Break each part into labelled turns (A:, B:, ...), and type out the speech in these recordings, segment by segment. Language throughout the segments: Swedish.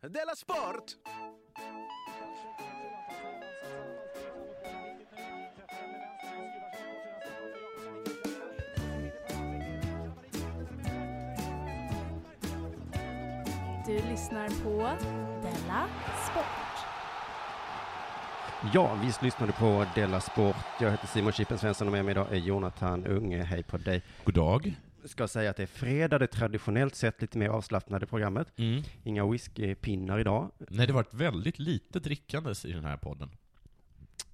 A: Della Sport!
B: Du lyssnar på Della Sport.
C: Ja, visst lyssnade på Della Sport. Jag heter Simon Chippen Svensson och med mig idag är Jonathan Unge. Hej på dig.
D: God dag.
C: Ska säga att det är fredag, det traditionellt sett lite mer avslappnade programmet. Inga whiskypinnar idag.
D: Mm. Nej, det har varit väldigt lite drickandes i den här podden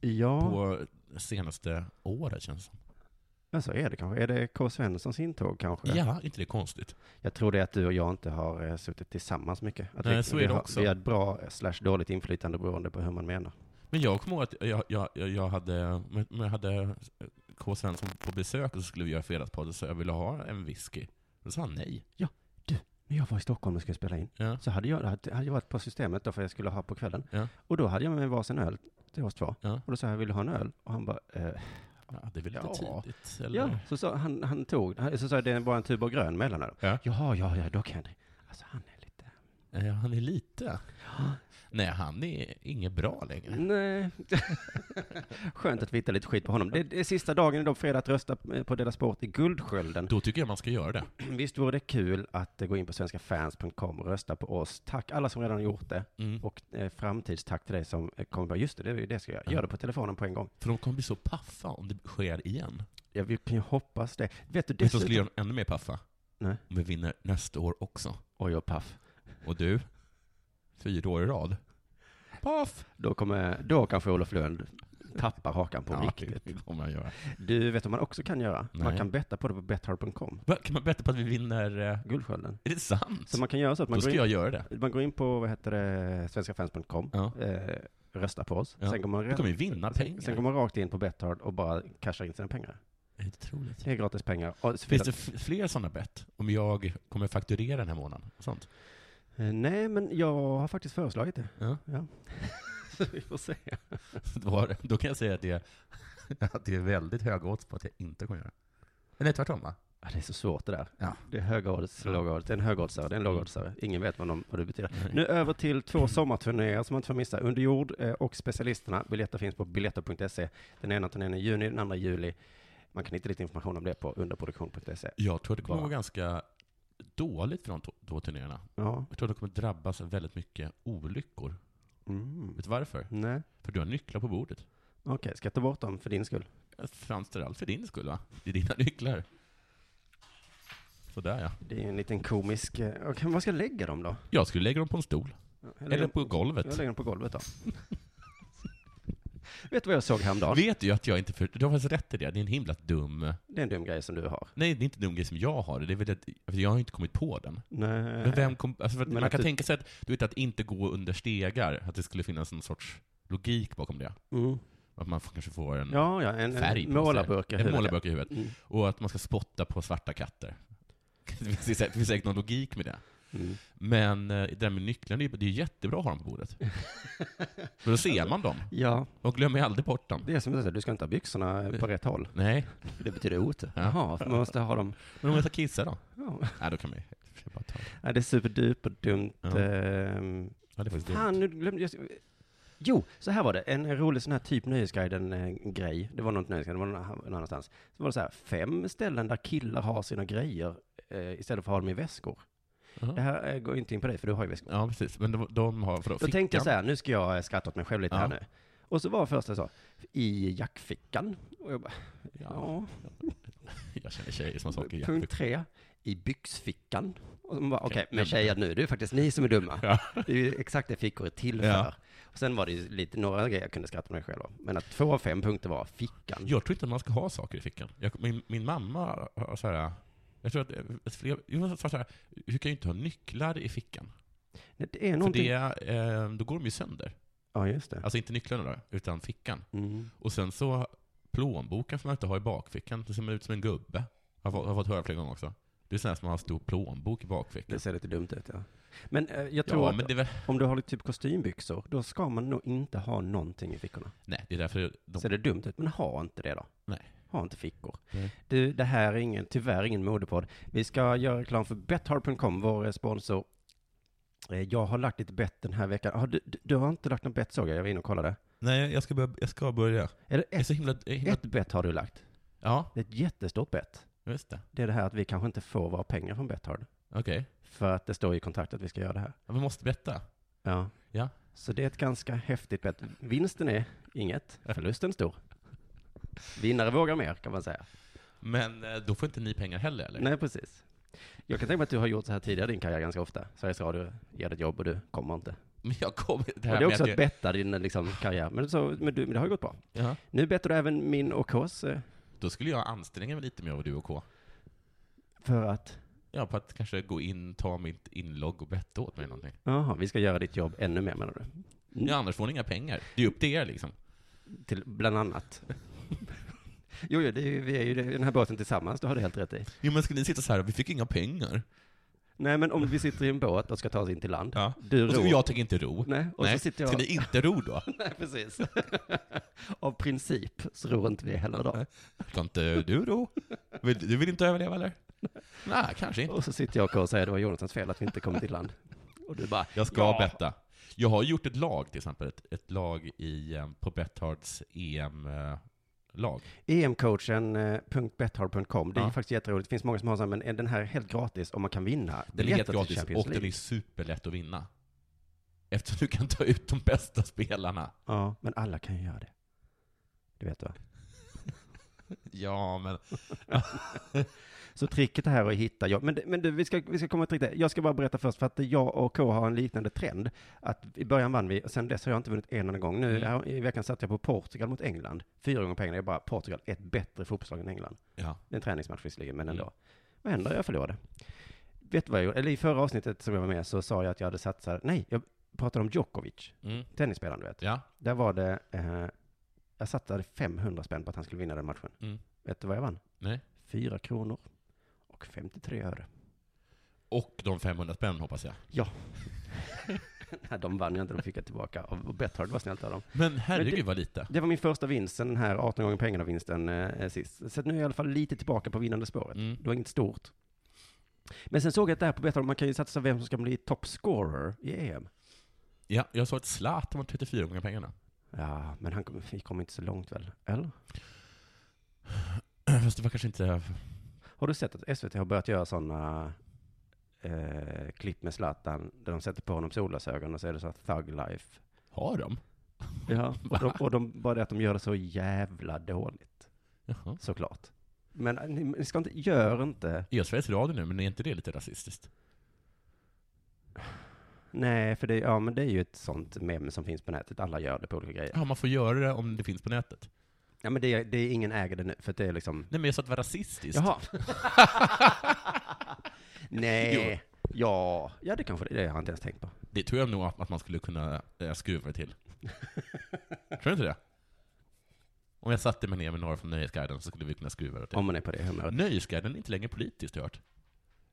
C: Ja,
D: på senaste året känns det som.
C: ja, så är det kanske. Är det K. Svenssons intåg kanske?
D: Ja, inte det är konstigt?
C: Jag tror det är att du och jag inte har eh, suttit tillsammans mycket. Att
D: Nej,
C: vi,
D: så är
C: vi
D: det
C: har,
D: också.
C: Vi har ett bra eh, slash dåligt inflytande beroende på hur man menar.
D: Men jag kommer ihåg att jag, jag, jag, jag hade, men- men jag hade K. Svensson på besök och så skulle vi göra fredagspodd och så jag ville ha en whisky. Då sa han nej.
C: Men jag var i Stockholm och skulle spela in.
D: Ja.
C: Så hade jag, hade hade jag varit på systemet då för jag skulle ha på kvällen.
D: Ja.
C: Och då hade jag med mig varsin öl till oss två.
D: Ja.
C: Och då sa jag, vill du ha en öl? Och han bara, eh,
D: Ja, det är väl lite
C: Ja.
D: tidigt? Eller?
C: Ja, så sa han, han tog, han- så sa jag, det är bara en tuber grön mellanöl.
D: Ja.
C: Jaha, ja, ja, då kan det. Alltså han är lite...
D: Eh, han är lite... Nej, han är inget bra längre.
C: Nej. eh, Skönt att vi hittar lite skit på honom. Det, det är sista dagen idag, fredag, att rösta på Dela Sport i Guldskölden.
D: Då tycker jag man ska göra det.
C: Visst vore det kul att eh, gå in på svenskafans.com och rösta på oss. Tack alla som redan har gjort det.
D: Mm.
C: Och eh, framtidstack till dig som eh, kommer bara, just det, det är ju det jag ska göra. Gör det på telefonen på en gång.
D: För de kommer bli så paffa om det sker igen.
C: Ja, vi kan ju hoppas det. Vet du,
D: Vet du vad som
C: dessutom...
D: skulle göra dem ännu mer paffa?
C: Nej.
D: Om vi vinner nästa år också.
C: Oj, och paff.
D: Och du? Fyra år i rad. Paff!
C: Då kommer, då kanske Olof Lund tappar hakan på riktigt.
D: det kommer jag göra.
C: Du, vet vad man också kan göra? Man
D: Nej.
C: kan betta på det på betthard.com,
D: Va, Kan man betta på att vi vinner... eh,
C: Guldskölden.
D: Är det sant?
C: Så man kan göra så att man
D: Då
C: går
D: ska
C: in,
D: jag göra det.
C: man går in på, vad heter det, svenskafans.com,
D: Ja.
C: eh, röstar på oss.
D: Ja.
C: Sen går man,
D: Då
C: rätt-
D: kommer vi vinna pengar.
C: sen, sen går man rakt in på Betthard och bara cashar in sina pengar.
D: Det är otroligt.
C: Det är gratis pengar. Och så
D: Finns det f- fler sådana bett? Om jag kommer fakturera den här månaden? och Sånt.
C: Eh, Nej, men jag har faktiskt föreslagit det.
D: Ja.
C: Så vi får se.
D: Då, har- då kan jag säga att det, är- att det är väldigt höga odds på att jag inte kommer göra det. Eller tvärtom va?
C: Ja, det är så svårt det där.
D: Ja.
C: Det är höga odds,
D: Ja. Mm.
C: låga odds. Det är en hög oddsare, det är en låg oddsare. Ingen vet vad, de, vad det betyder. Nu över till två sommarturnéer som man inte får missa. Under jord eh, och specialisterna. Biljetter finns på biljetter.se. Den ena turnén är i juni, den andra i juli. Man kan hitta lite information om det på underproduktion.se.
D: Jag tror det kommer
C: Bara.
D: gå ganska dåligt för de to- två turnéerna.
C: Ja.
D: Jag tror det kommer drabbas av väldigt mycket olyckor.
C: Mm.
D: Vet du varför?
C: Nej,
D: För du har nycklar på bordet.
C: okej. Ska jag ta bort dem för din skull?
D: Framförallt för din skull va? Det är dina nycklar. Sådär ja.
C: Det är en liten komisk... eh, Okej, men var ska jag lägga dem då?
D: Jag skulle lägga dem på en stol.
C: Jag lägger,
D: Eller
C: dem,
D: på
C: jag
D: golvet.
C: lägger dem på golvet då. vet du vad jag såg häromdagen?
D: Vet du att jag inte för... Du har faktiskt rätt i det. Det är en himla dum...
C: Det är en dum grej som du har.
D: Nej, det är inte dum grej som jag har. Det är väl att... för Jag har inte kommit på den.
C: Nej.
D: Men vem kom... Alltså för att
C: Men
D: man
C: att
D: kan
C: du-
D: tänka sig att, du vet, att inte gå under stegar, att det skulle finnas någon sorts logik bakom det.
C: Mm.
D: Att man får- kanske får en
C: Ja, ja, en,
D: Mm. färg
C: en
D: på sig.
C: målarburk i
D: En
C: huvudet.
D: målarburk i huvudet.
C: Mm.
D: Och att man ska spotta på svarta katter. Det finns säkert- det finns säkert någon logik med det.
C: Mm.
D: Men eh, det där med nycklarna, det är ju- det är ju jättebra att ha dem på bordet. För då ser man dem.
C: Ja,
D: Och glömmer aldrig bort dem.
C: det är som du säger, du ska inte ha byxorna på rätt håll.
D: Nej.
C: Det betyder otur. Jaha, för man måste ha dem.
D: Men om jag tar kissa då?
C: Ja.
D: Nej, då kan man ju bara ta det.
C: Nej, det är superduper dumt.
D: Ja.
C: ehm.
D: Ja, det är faktiskt
C: Fan,
D: dumt.
C: nu glömde jag. Jo, så här var det. En rolig sån här typ Nöjesguiden-grej. Det var något Nöjesguiden, det var någon någon annanstans. Så var det så här, fem ställen där killar har sina grejer eh, istället för att ha dem i väskor.
D: Jaha.
C: Det här eh, går ju inte in på dig, för du har ju väskor.
D: Ja, precis. Men de, de har... Vadå,
C: Då tänkte jag så
D: fickan?
C: här, nu ska jag eh, skratta åt mig själv lite
D: Ja.
C: här nu. Och så var första så, i jackfickan. Och jag bara,
D: Ja,
C: ja.
D: jag känner tjejer som har saker i
C: Punkt tre,
D: jackfickan.
C: i byxfickan. Och så man bara, okej,
D: Okej,
C: men
D: men-
C: tjejer nu, det är faktiskt ni som är dumma.
D: Ja.
C: Det är ju exakt det fickor är till för.
D: Ja.
C: Och sen var det ju lite, några grejer jag kunde skratta med mig själv om. Men att två av fem punkter var fickan.
D: Jag tror inte att man ska ha saker i fickan. Jag, min, min mamma har så här... Jag tror att eh, fler... Jag sa så här, du kan ju inte ha nycklar i fickan.
C: Nej, Det är
D: För
C: någonting.
D: det, eh, då går de ju sönder.
C: Ja, just det.
D: Alltså inte nycklarna då, utan fickan.
C: Mm.
D: Och sen så, plånboken får man inte ha i bakfickan. Det ser man ut som en gubbe. Jag har, fått- jag har fått höra flera gånger också. Det är sådär som man har stor plånbok i bakfickan.
C: Det ser lite dumt ut, ja. Men eh, jag tror
D: Ja,
C: att
D: men det är väl...
C: om du har lite typ kostymbyxor, då ska man nog inte ha någonting i fickorna.
D: Nej, det är därför de...
C: Ser det dumt ut? Men ha inte det då.
D: Nej.
C: Ha inte fickor.
D: Nej.
C: Du, det här är ingen, tyvärr ingen modepodd. Vi ska göra reklam för Bethard.com, vår sponsor. Eh, Jag har lagt ett bett den här veckan. Ah, du, du- du har inte lagt något bett såg jag, jag var inne och kollade.
D: Nej, jag ska börja. Jag ska börja.
C: Är det
D: Jag är
C: ett,
D: så himla, jag är himla...
C: ett bett har du lagt?
D: Ja,
C: Det är ett jättestort bett.
D: just det.
C: Det är det här att vi kanske inte får våra pengar från Betthard.
D: Okej.
C: För att det står i kontraktet att vi ska göra det här.
D: Ja, vi måste betta.
C: Ja.
D: Ja.
C: Så det är ett ganska häftigt bett. Vinsten är inget, förlusten stor. Vinnare vågar mer kan man säga.
D: Men eh, då får inte ni pengar heller, eller?
C: Nej, precis. Jag kan tänka mig att du har gjort så här tidigare i din karriär ganska ofta. Sveriges Radio ger dig ett jobb och du kommer inte.
D: Men jag kommer... Det
C: och
D: här
C: det är
D: med
C: också
D: att
C: att
D: jag...
C: betta din liksom, karriär. Men, så, men, du, men det har ju gått bra.
D: Ja.
C: Nu bettar du även min och Ks eh,
D: Då skulle jag anstränga mig lite om jag var du och K.
C: för att
D: Ja, på att kanske gå in, ta mitt inlogg och betta åt mig någonting.
C: Jaha, vi ska göra ditt jobb ännu mer menar du?
D: Ja, annars får ni inga pengar. Det är upp till er liksom.
C: Till, bland annat. jo, jo det är, ju- vi är ju i den här båten tillsammans, det har du helt rätt i.
D: Jo, men ska ni sitta så här, vi fick inga pengar.
C: Nej, men om vi sitter i en båt och ska ta oss in till land.
D: Ja.
C: Du
D: Och så,
C: ror.
D: jag tänker inte ro.
C: Nej, och
D: Nej.
C: så sitter jag...
D: Ska ni inte ro då?
C: Nej, precis. Av princip så ror inte vi heller då.
D: Ska inte du ro? Vill, du vill inte överleva eller? Nej, kanske inte.
C: Och så sitter jag och säger det var Jonathans fel att vi inte kom till land. Och du bara,
D: Jag ska
C: Ja.
D: betta. Jag har gjort ett lag till exempel, ett, ett lag i, eh, på Betthards EM-lag.
C: "E eh, emcoachen.bethard.com, det är
D: Ja.
C: faktiskt jätteroligt. Det finns många som har så här, men är den här helt gratis och man kan vinna
D: Den är helt
C: biljetter till
D: gratis
C: Champions
D: och den är
C: League?
D: superlätt att vinna. Eftersom du kan ta ut de bästa spelarna.
C: Ja, men alla kan ju göra det. Du vet va?
D: Ja, men...
C: Så tricket här är att hitta jobb. Men, det- men du, vi ska, vi ska komma till det. Jag ska bara berätta först, för att jag och K har en liknande trend. Att i början vann vi, och sen dess har jag inte vunnit en enda gång. Nu
D: Mm.
C: här, i veckan satt jag på Portugal mot England. Fyra gånger pengarna. Jag bara, Portugal, ett bättre fotbollslag än England.
D: Ja.
C: Det är en träningsmatch visserligen, men ändå.
D: Mm.
C: Vad händer? Jag förlorade. Vet du vad jag gjorde? Eller i förra avsnittet som jag var med så sa jag att jag hade satsat, nej, jag pratade om Djokovic,
D: Mm.
C: tennisspelaren du vet.
D: Ja.
C: Där var det, eh, jag satsade 500 spänn på att han skulle vinna den matchen.
D: Mm.
C: Vet du vad jag vann?
D: Nej.
C: Fyra kronor och 53 öre.
D: Och de 500 spänn hoppas jag.
C: Nej, de vann jag inte, de fick jag tillbaka. Och och Betthard var snällt av dem.
D: Men herregud vad lite.
C: Det var min första vinst sen den här 18 gånger pengarna-vinsten eh, sist. Så att nu är jag i alla fall lite tillbaka på vinnande spåret.
D: Mm.
C: Det var inget stort. Men sen såg jag att där på Betthard, man kan ju satsa vem som ska bli top scorer i E EM.
D: Ja, jag sa att Zlatan var 34 gånger pengarna.
C: Ja, men han kom, vi kom inte så långt väl? Eller?
D: Fast det var kanske inte...
C: Har du sett att SVT har börjat göra sådana eh, klipp med Zlatan, där de sätter på honom solglasögon och så är det så här thug life.
D: Har de?
C: Ja, och de, och de, bara det att de gör det så jävla dåligt,
D: Jaha.
C: såklart. Men eh, ni, ni ska inte, gör inte,
D: Är Sveriges Radio nu, men är inte det lite rasistiskt?
C: nej, för det, ja, men det är ju ett sånt mem som finns på nätet, alla gör det på olika grejer.
D: Ja, man får göra det om det finns på nätet.
C: Ja, men det, är- det är ingen äger det nu, för att det är liksom,
D: Nej, men jag sa att det var rasistiskt.
C: jaha. nej, ja, ja det kanske det är, det har jag inte ens tänkt på.
D: Det tror jag nog att att man skulle kunna eh, skruva det till. tror du inte det? Om jag satte mig ner med några från Nöjesguiden så skulle vi kunna skruva det till.
C: Om man är på det humöret.
D: Nöjesguiden är inte längre politiskt, har jag hört.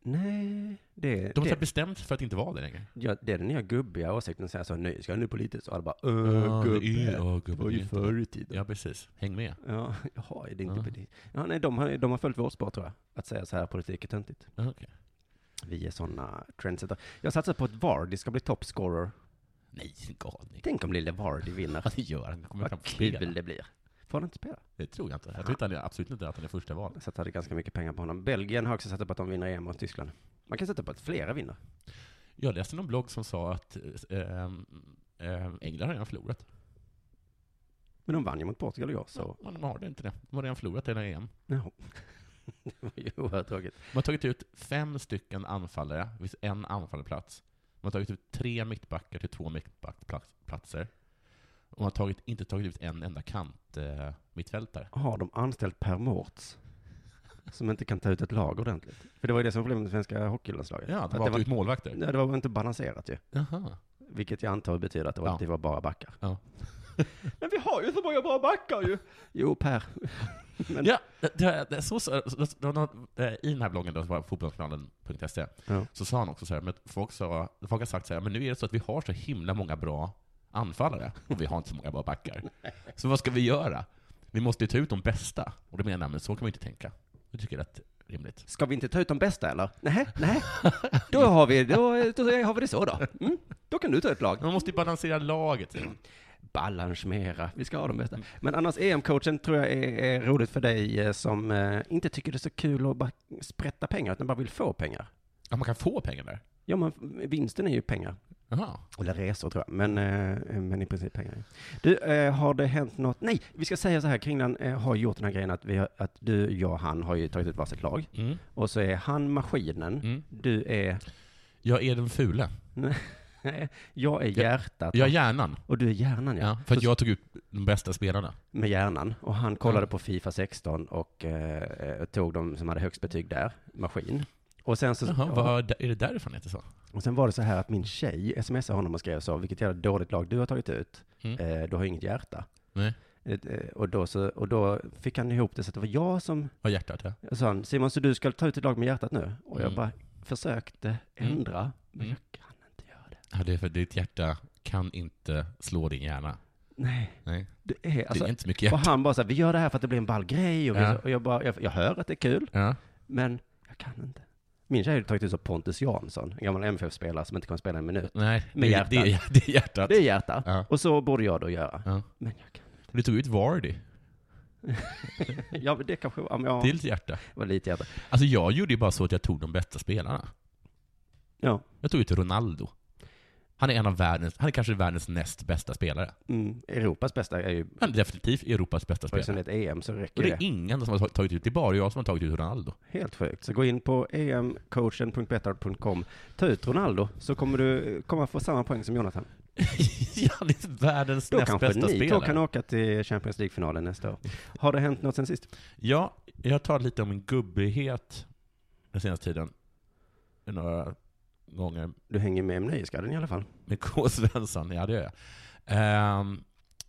C: Nej, det,
D: De har
C: det,
D: bestämt sig för att inte vara det längre.
C: ja, det är den nya gubbiga åsikten, säga så, nu ska jag nu politiskt, och alla bara,
D: Ja,
C: öh,
D: det är-
C: gubbe,
D: ja,
C: det
D: gubbe,
C: var
D: det är
C: ju
D: inte-
C: förr i tiden.
D: Ja, precis. Häng med.
C: Ja, jaha, är det inte
D: Ja.
C: politik? Ja, nej, de har, de har följt vårt spår tror jag. Att säga så här, politik är töntigt.
D: Ja, okej.
C: Vi är sådana trendsetter. Jag satsar på att Vardy ska bli topscorer.
D: Nej, galning.
C: Tänk om lille Vardy vinner.
D: Vad det gör han? Alltså, Kommer fram
C: Vad
D: på flera.
C: kul det blir. Får han inte spela?
D: Det tror jag inte. Jag tror inte han är, absolut inte att han är första val.
C: Jag satsade ganska mycket pengar på honom. Belgien har också satsat på att de vinner EM mot Tyskland. Man kan sätta på att flera vinner.
D: Jag läste någon blogg som sa att eh, eh, England har redan förlorat.
C: Men de vann ju mot Portugal igår, så...
D: Så. Ja, de har det inte det. De har redan förlorat hela EM.
C: Ja. det var ju oerhört tråkigt.
D: De har tagit ut fem stycken anfallare, det finns en anfallarplats. De har tagit ut tre mittbackar till två mittbackplatser. Och de har tagit, inte tagit ut en enda kant eh, mittfältare.
C: Har de anställt Per Mårts? Som inte kan ta ut ett lag ordentligt. För det var ju det som var problemet med svenska hockeylandslaget.
D: Ja,
C: Att det
D: de har tagit
C: var-
D: ut målvakter.
C: Nej, det var inte balanserat ju.
D: Jaha.
C: Vilket jag antar betyder att det var,
D: Ja.
C: det var bara backar.
D: Ja.
C: Men vi har ju så många bra backar ju! Jo, Per. Men,
D: Ja, det, det, det, så, så, så, det var någon, eh, I den här bloggen, då, som var fotbollskanalen.se,
C: Ja.
D: så sa han också så här, men folk, sa, folk har sagt så här, men nu är det så att vi har så himla många bra anfallare, och vi har inte så många bra backar. Så vad ska vi göra? Vi måste ju ta ut de bästa. Och då menar jag, men så kan man ju inte tänka. Jag tycker att rimligt.
C: Ska vi inte ta ut de bästa eller? Nej, nej. Då har vi, då, då har vi det så då. Mm. Då kan du ta ett lag.
D: Man måste ju balansera laget. säger man.
C: Balansmera. Vi ska ha de bästa. Mm. Men annars, EM-coachen tror jag är, är roligt för dig eh, som eh, inte tycker det är så kul att bara sprätta pengar, utan bara vill få pengar.
D: Ja, man kan få pengar där.
C: Ja, men vinsten är ju pengar.
D: Jaha.
C: Eller resor tror jag, men, eh, men i princip pengar. Du, eh, har det hänt något? Nej, vi ska säga så här, Kringlan eh, har gjort den här grejen att, vi har, att du, jag och han har ju tagit ut varsitt lag.
D: Mm.
C: Och så är han maskinen,
D: Mm.
C: du är,
D: Jag är den fule.
C: jag är hjärtat
D: Jag är hjärnan.
C: och du är hjärnan ja.
D: Ja, för att
C: Så-
D: jag tog ut de bästa spelarna.
C: Med hjärnan. Och han kollade
D: Ja.
C: på Fifa 16 och eh, eh, tog de som hade högst betyg där, maskin. Och sen, så,
D: Jaha,
C: ja.
D: vad, är det därifrån det heter så?
C: och sen var det så här att min tjej smsade honom och skrev så, vilket jävla dåligt lag du har tagit ut.
D: Mm.
C: Eh, du har ju inget hjärta.
D: Nej.
C: Eh, eh, Och då, så, och då fick han ihop det så att det var jag som
D: Vad hjärtat är?
C: sa han, Simon, så du ska ta ut ett lag med hjärtat nu? Och jag
D: Mm.
C: bara försökte
D: Mm.
C: ändra, men jag
D: Mm.
C: kan inte göra det.
D: Ja, det är för ditt hjärta kan inte slå din hjärna.
C: Nej,
D: Nej,
C: det är alltså...
D: det är inte så mycket hjärta.
C: och han bara så här, vi gör det här för att det blir en ball grej. Och, vi,
D: Ja.
C: och jag bara, jag, jag hör att det är kul,
D: Ja.
C: men jag kan inte. Min tjej har tagit ut så Pontus Jansson, en gammal MFF-spelare som inte kommer spela en minut.
D: Nej,
C: Med
D: det,
C: hjärtat.
D: Det, är- det är hjärtat.
C: Det är hjärta.
D: Ja.
C: Och så borde jag då göra.
D: Ja.
C: Men jag kan
D: Du tog ut Vardy.
C: inte. Ja, men det kanske var, ja,
D: Det är lite hjärta.
C: var lite hjärta.
D: Alltså jag gjorde ju bara så att jag tog de bästa spelarna.
C: Ja.
D: Jag tog ut Ronaldo. Han är en av världens, han är kanske världens näst bästa spelare.
C: Mm, Europas bästa är ju,
D: Han är definitivt Europas bästa
C: eftersom
D: spelare.
C: det är ett EM E så räcker
D: Och det
C: det.
D: är ingen som har tagit ut, det är bara jag som har tagit ut Ronaldo.
C: Helt sjukt. Så gå in på E emcoachen.betard.com, ta ut Ronaldo, så kommer du komma få samma poäng som Jonathan.
D: han är världens
C: Då
D: näst
C: kanske
D: bästa
C: ni två
D: spelare.
C: kan åka till Champions League-finalen nästa år. Har det hänt något sen sist?
D: Ja, jag tar lite om min gubbighet den senaste tiden. Några gånger
C: Du hänger med i Nöjesguiden i alla fall.
D: med K. Svensson, ja det gör jag. Ehm,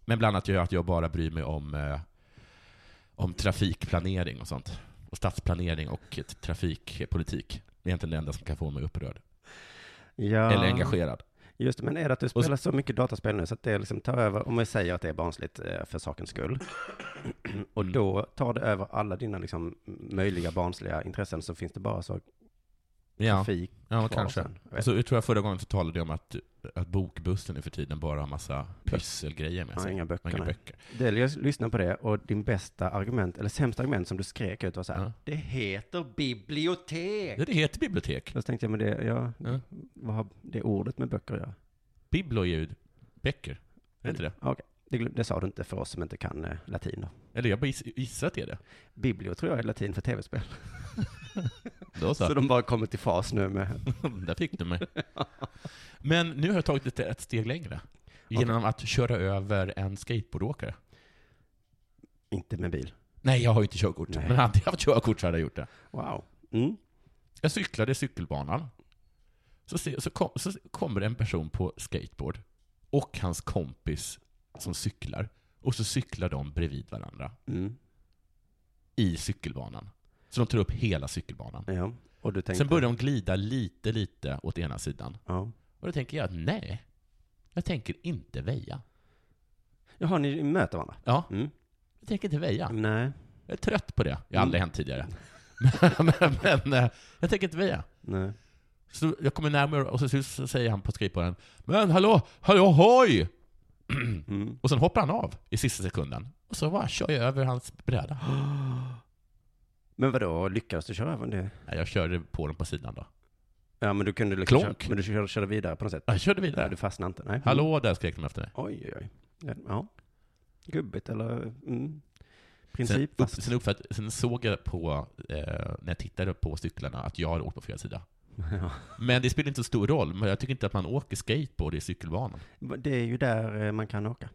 D: men bland annat gör jag att jag bara bryr mig om, eh, om trafikplanering och sånt. Och stadsplanering och ett trafikpolitik. Det är egentligen det enda som kan få mig upprörd.
C: Ja,
D: Eller engagerad.
C: Just det, men är det att du
D: så-
C: spelar så mycket dataspel nu så att det liksom tar över, om vi säger att det är barnsligt eh, för sakens skull, och
D: Mm.
C: då tar det över alla dina liksom möjliga barnsliga intressen så finns det bara så
D: Ja,
C: trafik kvar
D: ja kanske.
C: sen. Jag vet
D: Och så jag tror jag förra gången så talade jag om att, att bokbussen nu för tiden bara har massa pysselgrejer med
C: Ja,
D: sig.
C: inga böcker,
D: Och Inga
C: nej.
D: böcker.
C: Det, jag lyssnade på det och din bästa argument, eller sämsta argument som du skrek ut var så här,
D: Ja.
C: det heter bibliotek.
D: Ja, Det heter bibliotek.
C: Då tänkte jag, men det, ja,
D: Ja.
C: vad har det ordet med böcker att göra?
D: Biblojud. Böcker. Är det inte det?
C: Ja, Okej, det, glöm- det sa du inte för oss som inte kan eh, latin då.
D: Eller jag bara giss- gissar att det är det.
C: Biblio tror jag är latin för tv-spel.
D: Då så. "Mm,
C: Så de bara kommer till fas nu med,
D: Där fick du mig. Men nu har jag tagit lite ett steg längre. Genom att köra över en skateboardåkare.
C: inte med bil.
D: Nej, jag har ju inte körkort.
C: Nej.
D: Men hade jag haft körkort så hade jag gjort det.
C: Wow. Mm.
D: Jag cyklade i cykelbanan. Så, se, så, kom, så kommer en person på skateboard och hans kompis som cyklar. Och så cyklar de bredvid varandra
C: Mm.
D: i cykelbanan. Så de tar upp hela cykelbanan.
C: Ja, och du tänkte...
D: Sen börjar de glida lite, lite åt ena sidan.
C: Ja.
D: Och då tänker jag att nej, jag tänker inte väja.
C: Jaha, ni möter varandra?
D: Ja,
C: Mm.
D: jag tänker inte väja.
C: Nej.
D: Jag är trött på det. Jag har
C: Mm.
D: aldrig hänt tidigare. men, men, men eh, jag tänker inte väja.
C: Nej.
D: Så jag kommer närmare och så, så säger han på skateboarden Men hallå, hallå hoj!
C: Mm.
D: Och sen hoppar han av i sista sekunden. Och så bara kör jag över hans bräda.
C: Men vadå, lyckades du köra över det?
D: Nej, Jag körde på den på sidan då.
C: Ja, men du kunde liksom
D: Klonk.
C: köra, men du körde, körde vidare på något sätt?
D: Jag körde
C: Nej,
D: vidare.
C: du fastnade inte? Nej.
D: Hallå där skrek de efter mig.
C: Oj, oj, oj. Ja, Ja. Gubbigt eller mm.
D: Sen,
C: princip
D: upp,
C: fast.
D: sen, upp för att, sen såg jag på, eh, när jag tittade på cyklarna, att jag hade åkt på fel sida.
C: Ja.
D: Men det spelar inte så stor roll, men jag tycker inte att man åker skateboard i cykelbanan.
C: Det är ju där eh, man kan åka.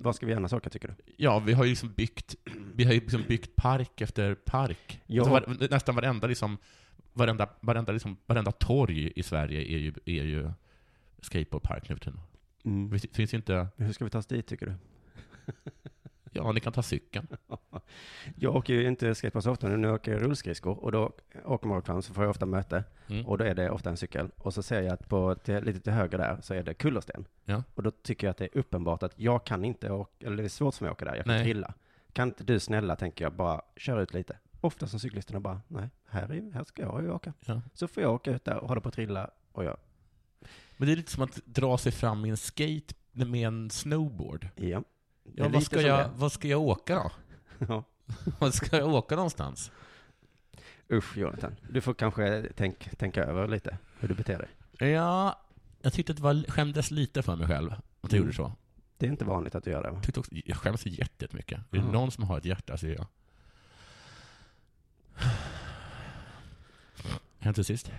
C: Vad ska vi annars åka tycker du?
D: Ja, vi har ju liksom byggt, vi har ju liksom byggt park efter park.
C: Ja.
D: Alltså var, nästan varenda, liksom, varenda, varenda, liksom, varenda torg i Sverige är ju, är ju skateboardpark nu för tiden.
C: Mm.
D: Det finns ju inte...
C: Hur ska vi ta oss dit tycker du?
D: Ja, ni kan ta cykeln.
C: Jag åker ju inte skateboard så ofta, men nu åker jag rullskridskor och då åker man fram så får jag ofta möte
D: Mm.
C: och då är det ofta en cykel och så ser jag att på, till, lite till höger där så är det kullersten
D: Ja.
C: och då tycker jag att det är uppenbart att jag kan inte åka, eller det är svårt för mig att åka där, jag kan
D: Nej.
C: trilla. Kan inte du snälla, tänker jag, bara köra ut lite? ofta som cyklisterna bara, nej, här, är, här ska jag ju åka.
D: Ja.
C: Så får jag åka ut där och hålla på att trilla och jag,
D: Men det är lite som att dra sig fram i en skate med en snowboard.
C: ja. Det är
D: Ja,
C: lite
D: vad, ska
C: som
D: jag,
C: det.
D: vad ska jag åka då?
C: Ja.
D: Vad ska jag åka någonstans?
C: Usch, Jonathan. Du får kanske tänk, tänka över lite hur du beter dig.
D: Ja, jag tyckte att det var, skämdes lite för mig själv att jag
C: Mm.
D: gjorde så.
C: Det är inte vanligt att du gör det. va?
D: Jag, tyckte också, jag skäms jättemycket. Är det
C: Ja.
D: någon som har ett hjärta så är det jag. Hänt till sist.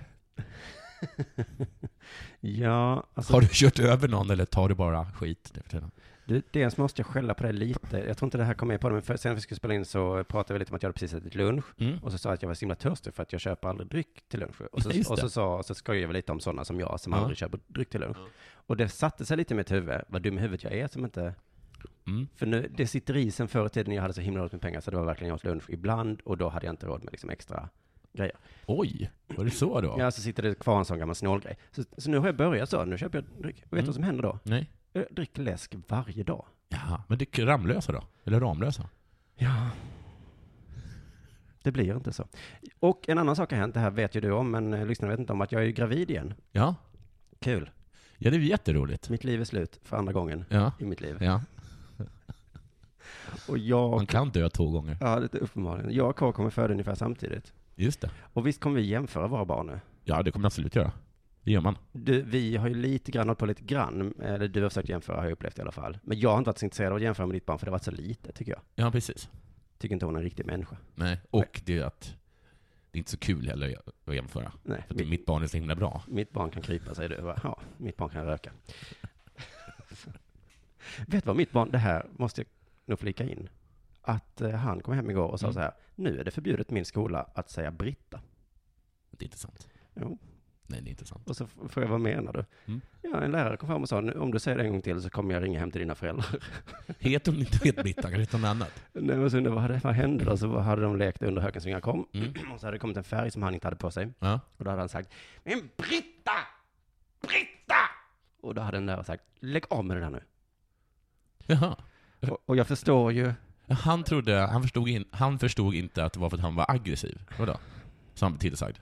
C: Ja, alltså,
D: Har du kört över någon eller tar du bara skit? nu för tiden?
C: du, dels måste jag skälla på dig lite. Jag tror inte det här kommer med på det, men för, sen när vi skulle spela in så pratade vi lite om att jag hade precis ätit lunch.
D: Mm.
C: Och så sa jag att jag var så himla törstig för att jag köper aldrig dryck till lunch. Och så,
D: Nej, just
C: och
D: det.
C: så, sa, så skojade vi lite om sådana som jag som
D: Ja.
C: aldrig köper dryck till lunch. Och det satte sig lite i mitt huvud, vad dum i huvudet jag är som inte...
D: Mm.
C: För nu, det sitter i sen förr i tiden jag hade så himla ont med pengar så det var verkligen jag åt lunch ibland och då hade jag inte råd med liksom extra grejer.
D: Oj, var det så då?
C: Ja, så sitter det kvar en sån gammal snålgrej. Så, så nu har jag börjat så, nu köper jag dryck. Och vet du
D: Mm.
C: vad som händer då?
D: Nej.
C: Jag dricker läsk varje dag.
D: Ja, men det är Ramlösa då? Eller Ramlösa?
C: Ja. Det blir inte så. Och en annan sak har hänt, det här vet ju du om, men eh, lyssnarna vet inte om, att jag är ju gravid igen.
D: Ja,
C: Kul.
D: ja det är jätteroligt.
C: Mitt liv är slut för andra gången
D: Ja,
C: i mitt liv.
D: ja.
C: Och jag...
D: Man kan dö två gånger.
C: Ja, det är uppenbarligen. Jag och K kommer föda ungefär samtidigt.
D: Just det.
C: Och visst kommer vi jämföra våra barn nu?
D: Ja, det kommer man absolut göra. Det gör man.
C: Du, vi har ju lite grann hållit på lite grann, eller du har försökt jämföra har jag upplevt i alla fall. Men jag har inte varit så intresserad av att jämföra med ditt barn för det har varit så lite tycker jag.
D: Ja, precis.
C: Tycker inte hon är en riktig människa.
D: Nej. Och det är att det är inte så kul heller att jämföra.
C: Nej,
D: För att
C: mitt,
D: mitt barn är så himla bra.
C: mitt barn kan krypa säger du. Jag bara, Ja, mitt barn kan röka. Vet du vad mitt barn, det här måste jag nog flika in. Att eh, han kom hem igår och sa
D: Mm.
C: så här, nu är det förbjudet i min skola att säga Britta.
D: Det är inte sant.
C: Jo.
D: Nej, det är inte sant.
C: Och så f- frågade jag, vad menar du?
D: Mm.
C: Ja, en lärare kom fram och sa, "Nu, om du säger det en gång till så kommer jag ringa hem till dina föräldrar.
D: Heter hon inte Britt Britta, kanske heter hon annat?
C: Nej, men så undrade jag, vad, hade- vad hände då? Så hade de lekt under hökens vingar kom.
D: Mm.
C: Och så hade det kommit en färg som han inte hade på sig.
D: Ja.
C: Och då hade han sagt, men Britta! Britta! Och då hade den där sagt, lägg av med det där nu.
D: Jaha.
C: Och, och jag förstår ju,
D: Han trodde, han förstod, in, han förstod inte att det var för att han var aggressiv. Vadå? Så han blev tillsagd.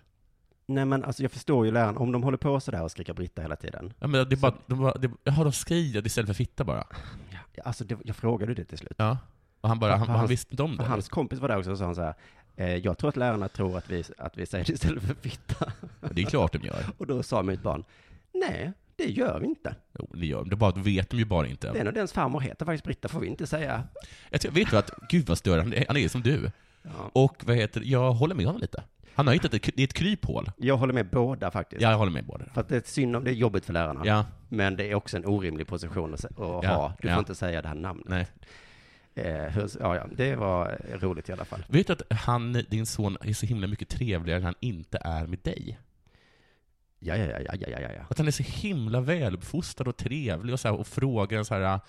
C: nej men alltså jag förstår ju läraren, om de håller på sådär och skriker Britta hela tiden.
D: Ja, men det är bara, de bara, det, jaha, de skriade istället för fitta bara.
C: Ja, Alltså det, jag frågade ju det till slut.
D: Ja. Och han bara, han,
C: Hans-
D: han visste inte om
C: För
D: det.
C: hans kompis var där också och sa han så här, eh, jag tror att lärarna tror att vi, att vi säger det istället för fitta.
D: Det är klart de gör.
C: Och då sa mitt barn, nej, det gör vi inte.
D: Jo, det gör de. Det bara, då vet de ju bara inte.
C: Den och dens farmor heter faktiskt Britta, får vi inte säga.
D: Jag tror, vet du att, gud vad störande han är. han är som du.
C: Ja.
D: Och vad heter jag håller med honom lite. Han har hittat ett, det är ett kryphål.
C: Jag håller med båda faktiskt.
D: Ja, jag håller med båda.
C: För att det är synd om det är jobbigt för lärarna.
D: Ja,
C: Men det är också en orimlig position att, sä- att
D: Ja,
C: ha. Du får
D: ja.
C: inte säga det här namnet.
D: nej.
C: Eh, hur, ja, ja, det var eh, roligt i alla fall.
D: Vet du att han, din son är så himla mycket trevligare när han inte är med dig?
C: Ja, ja, ja, ja, ja, ja, ja, ja.
D: Att han är så himla väluppfostrad och trevlig och, så här, och frågar så här,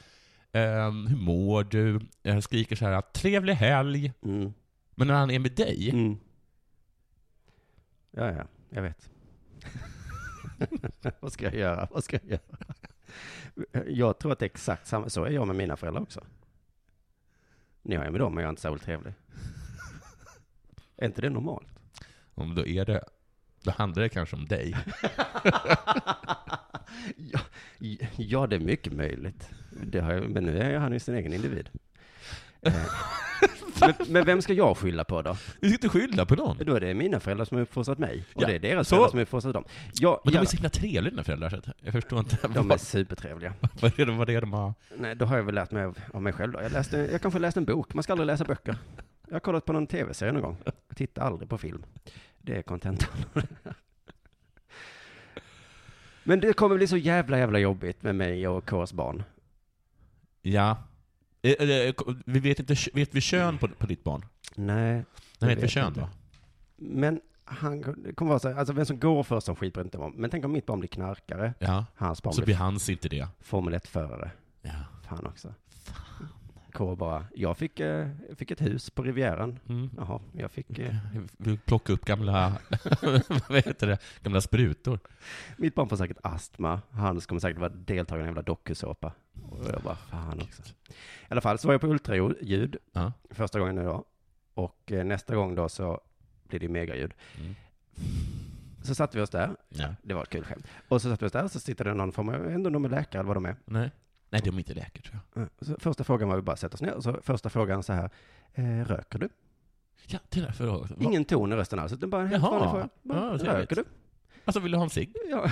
D: ehm, hur mår du? Eh, Skriker så här, trevlig helg.
C: Mm.
D: Men när han är med dig,
C: Mm. Ja, ja, jag vet. Vad ska jag göra? Vad ska jag göra? Jag tror att det är exakt samma. Så är jag med mina föräldrar också. Nu är jag med dem, men jag är inte särskilt trevlig. Är inte det normalt?
D: om då är det, då handlar det kanske om dig.
C: ja, ja, det är mycket möjligt. Det har jag, men nu är han ju sin egen individ. Eh, men, men vem ska jag skylla på då?
D: Du ska inte skylla på någon.
C: Då är det mina föräldrar som har uppfostrat mig. Och
D: Ja,
C: det är deras
D: så.
C: föräldrar som har uppfostrat dem. Jag,
D: Men de
C: jag,
D: är så himla trevliga dina föräldrar, så att jag förstår inte
C: de är
D: vad,
C: supertrevliga.
D: vad, det, vad det är de har.
C: Nej, då har jag väl lärt mig av, av mig själv då. Jag, läste, jag kanske läste en bok. Man ska aldrig läsa böcker. Jag har kollat på någon tv-serie någon gång. Titta aldrig på film. Det är kontentan. Men det kommer bli så jävla, jävla jobbigt med mig och Ks barn.
D: Ja. Eh, eller, eh, Vi vet inte, vet vi kön på, på ditt barn?
C: Nej,
D: Nej,
C: vet
D: vet vi kön
C: inte.
D: då?
C: men han det kommer vara så här, alltså vem som går först som skit bryr jag inte om. Men tänk om mitt barn blir knarkare,
D: Ja.
C: hans barn
D: Så
C: blir
D: blir hans inte det.
C: Formel 1-förare.
D: Ja.
C: Fan också. K bara, jag fick, eh, fick ett hus på Rivieran.
D: Mm.
C: Jaha, jag fick... Eh,
D: Jag vill plocka upp gamla, vad heter det, gamla sprutor.
C: Mitt barn får säkert astma. Han kommer säkert vara deltagare i en jävla dokusåpa. Och jag bara, fan också. I alla fall så var jag på ultraljud
D: Ja.
C: första gången idag. Och eh, nästa gång då så blir det ju megaljud.
D: Mm.
C: Så satte vi oss där.
D: Ja.
C: Det var ett kul skämt. Och så satte vi oss där och så sitter det någon form av, jag vet inte om de är läkare eller vad de är.
D: Nej. Nej, de är inte läkare tror jag.
C: Mm. Så första frågan var vi bara sätta oss ner. Och så första frågan så här, eh, röker du?
D: Ja, det är därför jag har-
C: Ingen ton i rösten alls, utan bara en helt
D: Jaha.
C: vanlig fråga.
D: Ja,
C: Bara,
D: vad trevligt.
C: röker du?
D: Alltså, vill du ha en cigg?
C: Ja,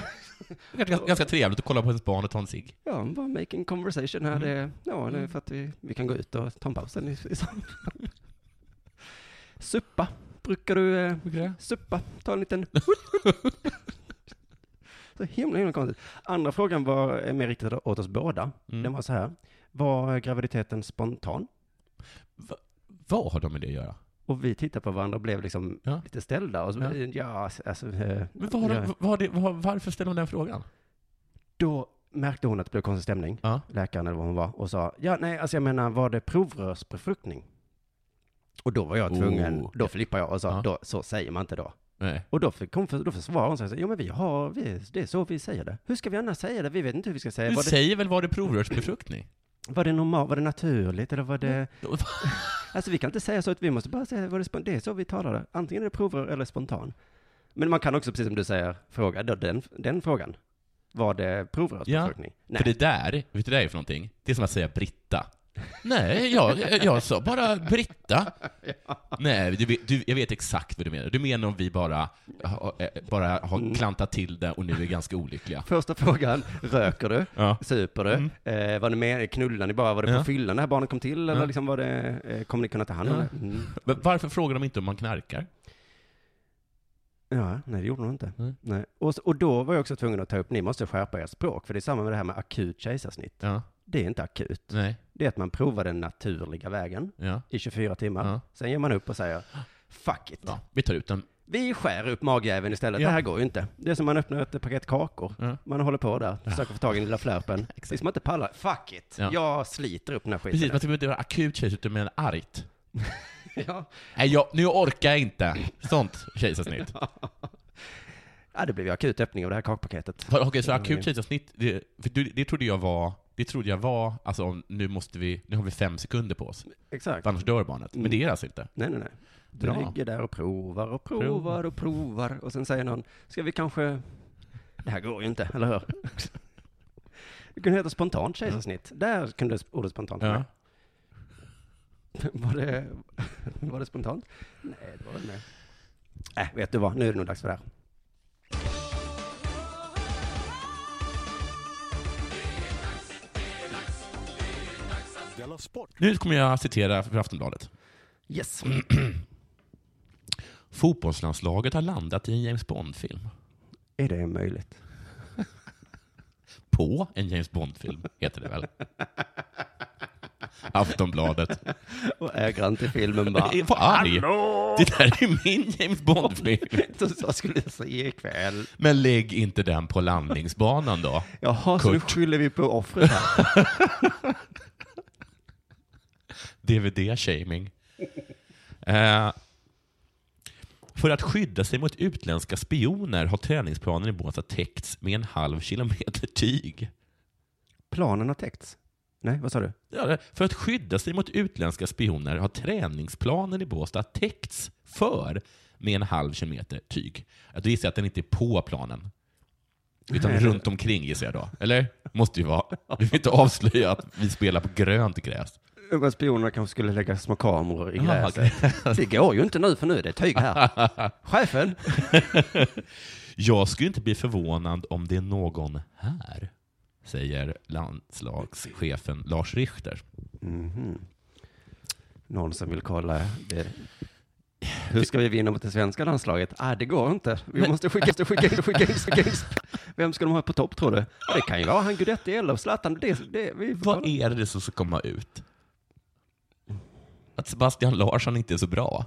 D: Ganska, ganska trevligt att kolla på ett barn och ta en cigg.
C: ja bara making conversation här.
D: Mm.
C: Det, ja, det är
D: Mm.
C: för att vi, vi kan gå ut och ta en paus sen i, i sam- Suppa, brukar du eh, suppa, ta en liten... så himla, himla konstigt. Andra frågan var eh, mer riktad åt oss båda.
D: Mm.
C: Den var så här, var graviditeten spontan?
D: Vad har de med det att göra?
C: Och vi tittade på varandra och blev liksom
D: Ja.
C: lite ställda. Och så,
D: Ja.
C: ja. alltså, eh,
D: Men vad har
C: Ja.
D: de, vad har det, vad har, varför ställer de den frågan?
C: Då märkte hon att det blev konstig stämning,
D: Ja.
C: läkaren eller vad hon var, och sa ja, nej, alltså jag menar, var det provrörsbefruktning? Och då var jag tvungen,
D: Oh.
C: då flippade jag och sa,
D: Ja.
C: då, så säger man inte då.
D: Nej.
C: Och då, fick, kom, för- då försvarade hon sig, och sa, jo men vi har, vi, det är så vi säger det. Hur ska vi annars säga det? Vi vet inte hur vi ska säga
D: Du
C: det. Var det,
D: säger väl var det provrörsbefruktning?
C: var det normalt, var det naturligt eller var det, alltså vi kan inte säga så, att vi måste bara säga, var det, spon- det är så vi talar det. Antingen är det provrör eller spontan. Men man kan också, precis som du säger, fråga då, den, den frågan. Var det provrörsbefruktning? Nej.
D: För det där, vet du vad det är för någonting? Det är som att säga Britta. Nej, jag, jag sa bara Britta. Nej, du, vet- du, jag vet exakt vad du menar. Du menar om vi bara, ha- eh, bara har klantat till det och nu är ganska olyckliga.
C: Första frågan, röker du?
D: Ja.
C: Super du? Eh, var det med, knullar ni bara? Var det på
D: Mm. Ja.
C: fyllan när här barnet kom till? Eller
D: Ja.
C: liksom var det, eh, kommer ni kunna ta hand om
D: Ja.
C: det? Mm.
D: Men varför frågar de inte om man knarkar?
C: Ja, nej det gjorde hon inte.
D: Nej.
C: Nej. Och, s- och då var jag också tvungen att ta upp, ni måste skärpa ert språk, för det är samma med det här med akut kejsarsnitt.
D: Ja.
C: Det är inte akut.
D: Nej.
C: Det är att man provar den naturliga vägen
D: Ja.
C: i 24 timmar.
D: Ja.
C: Sen ger man upp och säger, fuck it.
D: ja. Vi tar ut den.
C: Vi skär upp magjäveln istället,
D: Ja.
C: det här går ju inte. Det är som man öppnar ett paket kakor.
D: Ja.
C: Man håller på där, försöker få tag i den lilla flärpen.
D: Exakt.
C: Tills man inte pallar, fuck it.
D: Ja.
C: Jag sliter upp den här skiten.
D: Precis, man ska inte göra akut kejsarsnitt, utan med argt.
C: Ja.
D: Nej, jag, nu orkar jag inte. Sånt kejsarsnitt.
C: ja, det blev ju akut öppning av det här kakpaketet.
D: Okej, så
C: Ja,
D: akut
C: det-
D: kejsarsnitt, det, för du- det trodde jag var, det trodde jag var, alltså om nu måste vi, nu har vi fem sekunder på oss,
C: Exakt.
D: för annars dör barnet. Men det är det alltså inte.
C: Nej, nej, nej. Du
D: Bra.
C: ligger där och provar och provar och provar och sen säger någon, ska vi kanske... Det här går ju inte, eller hur? Det kunde heta spontant kejsarsnitt. Där kunde ordet spontant vara
D: Ja.
C: med. Var det, var det spontant? Nej, det var det inte. Nej, vet du vad? Nu är det nog dags för det här.
D: Nu kommer jag citera för Aftonbladet.
C: Yes!
D: Fotbollslandslaget har landat i en James Bond-film.
C: Är det möjligt?
D: På en James Bond-film, heter det väl? Aftonbladet.
C: Och ägaren till filmen bara,
D: Jag är för arg. Det där är min James Bond-film.
C: så så skulle jag säga ikväll.
D: Men lägg inte den på landningsbanan då.
C: Jaha, så nu
D: Kurt.
C: skyller vi på offret här.
D: DVD-shaming. Eh, för att skydda sig mot utländska spioner har träningsplanen i Båstad täckts med en halv kilometer tyg.
C: Planen har täckts. Nej, vad sa du?
D: Ja, det- För att skydda sig mot utländska spioner har träningsplanen i Båstad täckts för med en halv kilometer tyg. Jag gissar jag att den inte är på planen. Utan
C: Nej, det-
D: runt omkring gissar jag då. Eller? Måste ju vara. Du vill inte avslöja att vi spelar på grönt gräs.
C: Men spionerna kanske skulle lägga små kameror i
D: Jaha,
C: gräset. Det går ju inte nu, för nu är det tyg här. Chefen!
D: Jag skulle inte bli förvånad om det är någon här, säger landslagschefen Lars Richter.
C: Mhm. Någon som vill kolla det. Hur ska vi vinna mot det svenska landslaget? Ah, det går inte. Vi måste skicka, måste skicka in, skicka in, skicka in. Vem ska de ha på topp, tror du? Ja, Det kan ju vara han Guidetti eller Zlatan. Det, det, vi får
D: Vad
C: kolla.
D: är det som ska komma ut? Att Sebastian Larsson inte är så bra?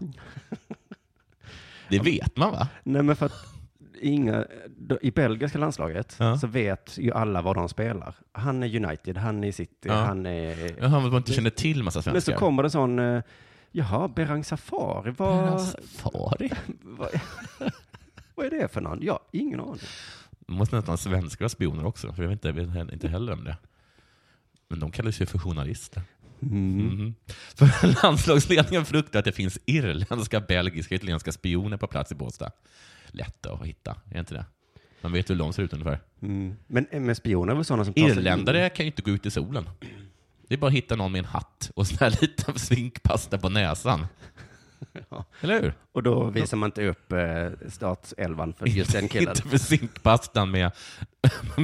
D: Det vet man va?
C: Nej, men för att inga, då, i belgiska landslaget
D: Ja.
C: så vet ju alla var de spelar. Han är United, han är City,
D: Ja.
C: han är...
D: Jaha, men man inte känner till massa svenskar.
C: Men så kommer det sån, eh, jaha, Berang Safari, vad,
D: Deras Safari?
C: vad, vad är det för någon? Ja, ingen aning.
D: Det måste nästan svenskar vara spioner också, för jag vet inte, jag vet inte heller om det. Men de kallas ju för journalister. Mhm. För landslagsledningen fruktar att det finns irländska, belgiska och italienska spioner på plats i Båstad. Lätta att hitta, är inte det? Man vet hur de ser ut ungefär.
C: Mm. Men, men spioner är väl sådana som tar sig in?
D: Irländare kan ju inte gå ut i solen. Det är bara att hitta någon med en hatt och sån här liten svinkpasta på näsan.
C: Ja.
D: Eller hur?
C: Och då visar man inte upp eh, startselvan för just den killen.
D: Inte för zinkpastan med,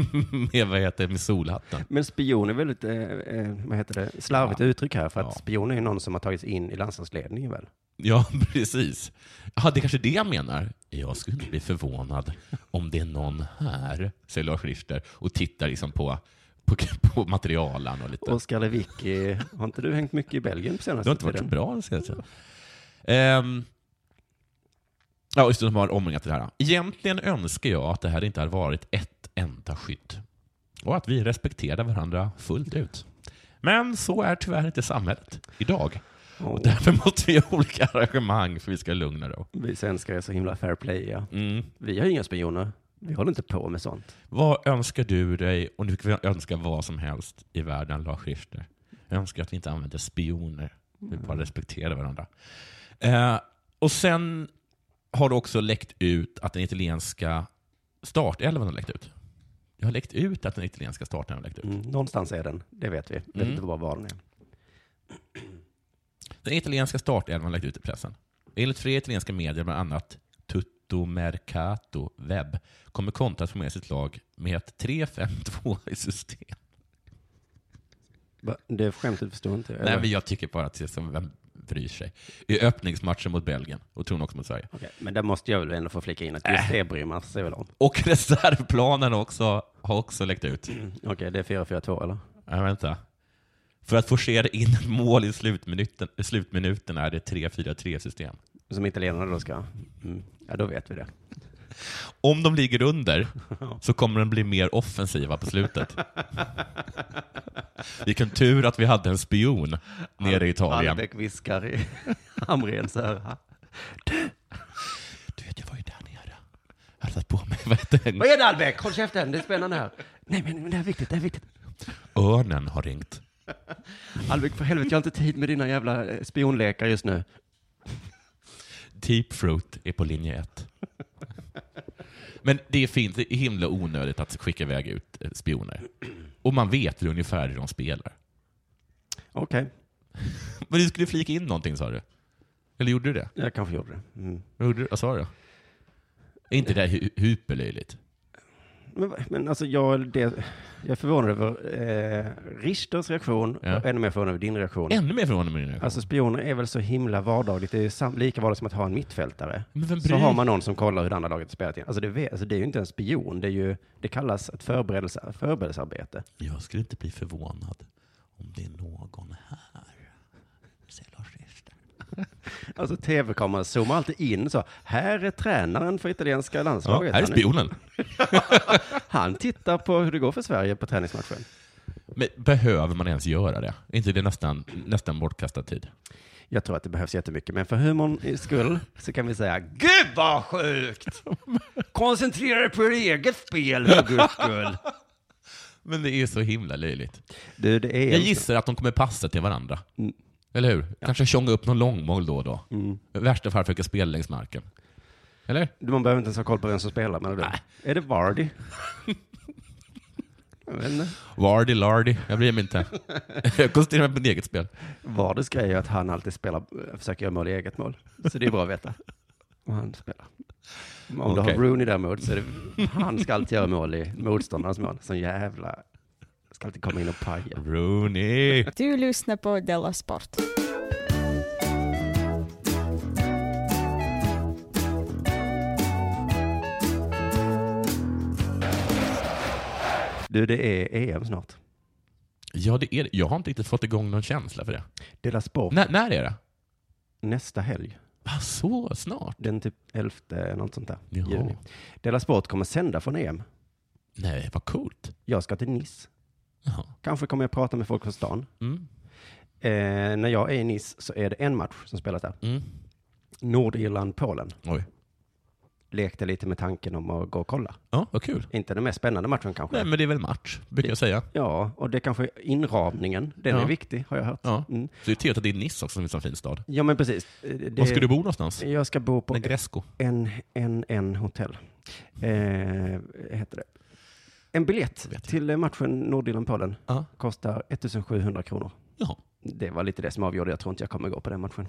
D: med, vad heter, det, med solhatten.
C: Men spion är väldigt, eh, eh, vad heter det, slarvigt uttryck här, för att
D: Ja.
C: spion är ju någon som har tagits in i landslagsledningen väl?
D: Ja, precis. Ja, det är kanske det jag menar. Jag skulle inte bli förvånad om det är någon här, säger Lars Richter och tittar liksom på, på, på materialen och lite.
C: Oskar Lewicki, har inte du hängt mycket i Belgien på
D: det
C: senaste
D: har inte varit så
C: tiden?
D: bra den senaste tiden. Ehm, Ja, just det, de har omringat det här. Egentligen önskar jag att det här inte hade varit ett enda skydd. Och att vi respekterade varandra fullt ut. Men så är tyvärr inte samhället idag. Och därför måste vi göra olika arrangemang för att vi ska lugna då.
C: Vi svenskar är så himla fair play, ja.
D: Mm.
C: Vi har inga spioner. Vi håller inte på med sånt.
D: Vad önskar du dig, och du kan önska vad som helst i världen, Lars Richter? Jag önskar att vi inte använder spioner. Vi bara respekterar varandra. Eh, och sen har det också läckt ut att den italienska startelvan har läckt ut. Det har läckt ut att den italienska startelvan har läckt ut.
C: Mm. Någonstans är den, det vet vi. Vet
D: Mm.
C: inte bara var den är.
D: Den italienska startelvan har läckt ut i pressen. Enligt flera italienska medier, bland annat Tutto Mercato Web, kommer Conte att få med sitt lag med ett 3-5-2 i system.
C: Va? Det skämtet förstår inte jag.
D: Nej,
C: Eller?
D: men jag tycker bara att det är som vem bryr sig. I öppningsmatchen mot Belgien, och tror också mot Sverige.
C: Okej, Äh. men där måste jag väl ändå få flika in att just det bryr man sig väl om.
D: Och reservplanen också, har också läckt ut.
C: Okej, det är 4-4-2 eller?
D: Nej, vänta. För att forcera in ett mål i slutminuten, i slutminuten är det 3-4-3-system.
C: Som italienarna då ska. Mm. Ja, då vet vi det.
D: Om de ligger under så kommer de bli mer offensiva på slutet. Vilken tur att vi hade en spion nere i Italien.
C: Albeck viskar i Hamrens öra.
D: Du vet, jag var ju där nere. Jag hade satt på mig, vad heter det?
C: Vad är det Albeck? Håll käften, det är spännande här. Nej, men, men det här är viktigt, det här är viktigt.
D: Örnen har ringt.
C: Albeck, för helvete, jag har inte tid med dina jävla eh, spionlekar just nu.
D: Deep Fruit är på linje ett. Men det finns det är himla onödigt att skicka iväg ut eh, spioner. Och man vet väl ungefär hur de spelar.
C: Okej,
D: Men du skulle flika in någonting sa du? Eller gjorde du det?
C: jag kanske gjorde det. Mm.
D: Vad, gjorde du? Vad sa du då? Är inte det här hu- hyperlöjligt?
C: Men, va- men alltså, jag, det, jag är förvånad över eh, Richters reaktion
D: Ja.
C: och ännu mer förvånad över din reaktion.
D: Ännu mer förvånande med din reaktion.
C: Alltså spioner är väl så himla vardagligt. Det är ju sam- lika vardagligt som att ha en mittfältare.
D: Men vem
C: Så
D: bryr-
C: har man någon som kollar hur det andra laget spelat in. Alltså det, vet, alltså det är ju inte en spion. Det, är ju, det kallas ett förberedelse, förberedelsearbete.
D: Jag skulle inte bli förvånad om det är någon här. Säger Lars Richter.
C: Alltså tv-kameran zoomar alltid in så. Här är tränaren för italienska
D: Ja,
C: landslaget.
D: här är
C: Han är-
D: spionen.
C: Han tittar på hur det går för Sverige på träningsmatchen.
D: Men behöver man ens göra det? Är inte det nästan, nästan bortkastad tid?
C: Jag tror att det behövs jättemycket, men för humorns skull så kan vi säga Gud vad sjukt! Koncentrera dig på er eget spel för guds skull.
D: Men det är så himla löjligt.
C: Du, det är
D: Jag gissar att de kommer passa till varandra.
C: Mm.
D: Eller hur? Kanske tjonga upp någon långmål då och då. I värsta fall försöka spela längs marken. Eller?
C: Man behöver inte ens ha koll på vem som spelar, menar du? Är det Vardy? Jag vet inte.
D: Vardy, Lardy. Jag bryr mig inte. Jag koncentrerar mig på mitt eget spel.
C: Vardys grej är att han alltid spelar, försöker göra mål i eget mål. Så det är bra att veta. Och han spelar. Om du
D: Okej.
C: har Rooney däremot så är det, han ska alltid göra mål i motståndarens mål. Som jävla, ska alltid komma in och paja.
D: Rooney.
A: Du lyssnar på Della Sport.
C: Du, det är EM snart.
D: Ja, det är det. Jag har inte riktigt fått igång någon känsla för det.
C: Dela Sport
D: N- när är det?
C: nästa helg.
D: Ah, så snart?
C: Den typ 11, något sånt där.
D: Jaha.
C: Juni. Dela Sport kommer sända från EM.
D: Nej, vad coolt.
C: Jag ska till Nice.
D: Jaha.
C: Kanske kommer jag prata med folk från stan.
D: Mm.
C: Eh, när jag är i Nice så är det en match som spelas där.
D: Mm.
C: Nordirland-Polen.
D: Oj.
C: lekte lite med tanken om att gå och kolla.
D: Ja, vad kul.
C: Inte den mest spännande matchen kanske.
D: Nej, men det är väl match, brukar jag säga.
C: Ja, och det kanske är inramningen. Den
D: Ja.
C: är viktig, har jag hört.
D: Ja.
C: Mm.
D: Så det är trevligt att det är Nice också, som är en sån fin stad.
C: Ja, men precis. Eh, Det...
D: Var ska du bo någonstans?
C: Jag ska bo på
D: Negresco.
C: en, en, en hotell. Eh, heter det. En biljett
D: Vet jag.
C: till eh, matchen Nordirland-Polen
D: Ja.
C: kostar 1700 kronor.
D: Jaha.
C: Det var lite det som avgjorde. Jag tror inte jag kommer gå på den matchen.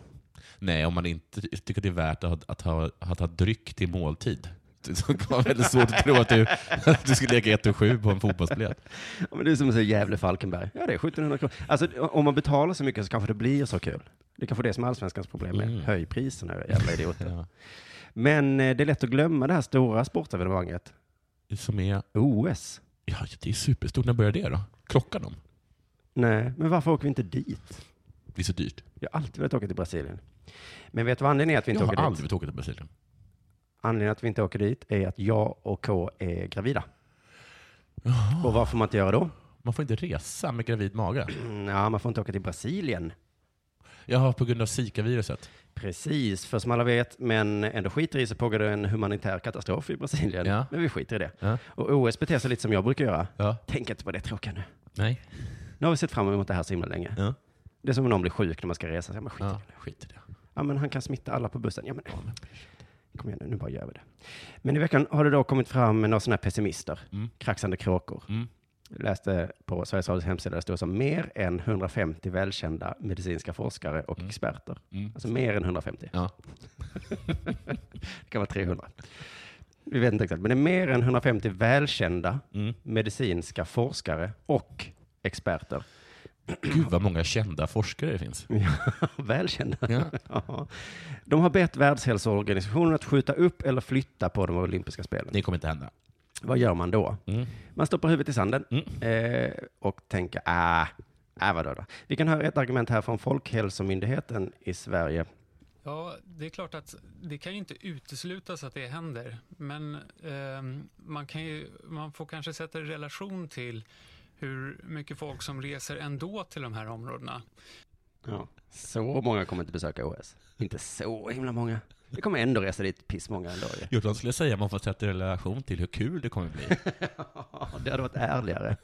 D: Nej, om man inte ty- tycker det är värt att, ha- att, ha, att ha dryck till måltid. Så kan man väldigt svårt att tro att du, att du skulle lägga 1 och 7 på en fotbollsbiljett.
C: Ja, men det är som att säga Gävle-Falkenberg. Ja, det är 1700 kronor. Alltså, om man betalar så mycket så kanske det blir så kul. Det är kanske det som är allsvenskans problem är.
D: Mm.
C: Höj priserna, era jävla idioter.
D: Ja.
C: Men eh, det är lätt att glömma det här stora sportevenemanget.
D: Som är,
C: OS.
D: ja, det är superstort. När börjar det då? Klockan om?
C: Nej, men varför åker vi inte dit?
D: Det är så dyrt.
C: Jag har alltid velat åka till Brasilien. Men vet du vad anledningen är att vi
D: Jag
C: inte
D: har
C: åker dit?
D: aldrig velat åka till Brasilien.
C: Anledningen att vi inte åker dit är att jag och K är gravida. Och vad får man inte göra då?
D: Man får inte resa med gravid mage.
C: Mm, Ja, man får inte åka till Brasilien.
D: Jaha, på grund av Zika-viruset.
C: Precis, för som alla vet, men ändå skiter i så pågår det en humanitär katastrof i Brasilien.
D: Ja.
C: Men vi skiter i det.
D: Ja.
C: Och OS beter sig lite som jag brukar göra.
D: Ja.
C: Tänk inte på det tråkiga nu.
D: Nej.
C: Nu har vi sett fram emot det här så himla länge.
D: Ja.
C: Det är som om någon blir sjuk när man ska resa. Så, ja, men skit, i
D: Ja,
C: det.
D: skit i det.
C: ja, men han kan smitta alla på bussen. Ja, men, kom igen nu, nu bara gör vi det. Men i veckan har det då kommit fram några sådana här pessimister,
D: Mm.
C: kraxande kråkor.
D: Mm.
C: Jag läste på Sveriges Radios hemsida, det stod som mer än 150 välkända medicinska forskare och
D: Mm.
C: experter.
D: Mm.
C: Alltså mer än 150.
D: Ja.
C: det kan vara 300. Vi vet inte exakt, men det är mer än 150 välkända
D: Mm.
C: medicinska forskare och experter.
D: Gud vad många kända forskare det finns.
C: välkända.
D: Ja.
C: Ja. De har bett Världshälsoorganisationen att skjuta upp eller flytta på de olympiska spelen.
D: Det kommer inte hända.
C: Vad gör man då?
D: Mm.
C: Man stoppar huvudet i sanden
D: Mm.
C: eh, och tänker, ah, ah vadå då? Vi kan höra ett argument här från Folkhälsomyndigheten i Sverige.
E: Ja, det är klart att det kan ju inte uteslutas att det händer. Men ehm, man, kan ju, man får kanske sätta det i relation till hur mycket folk som reser ändå till de här områdena.
C: Ja. Så många kommer inte besöka OS. Inte så himla många. Det kommer ändå resa dit pissmånga ändå ju.
D: Jo, de skulle säga att man får sätta det i relation till hur kul det kommer bli.
C: det hade varit ärligare.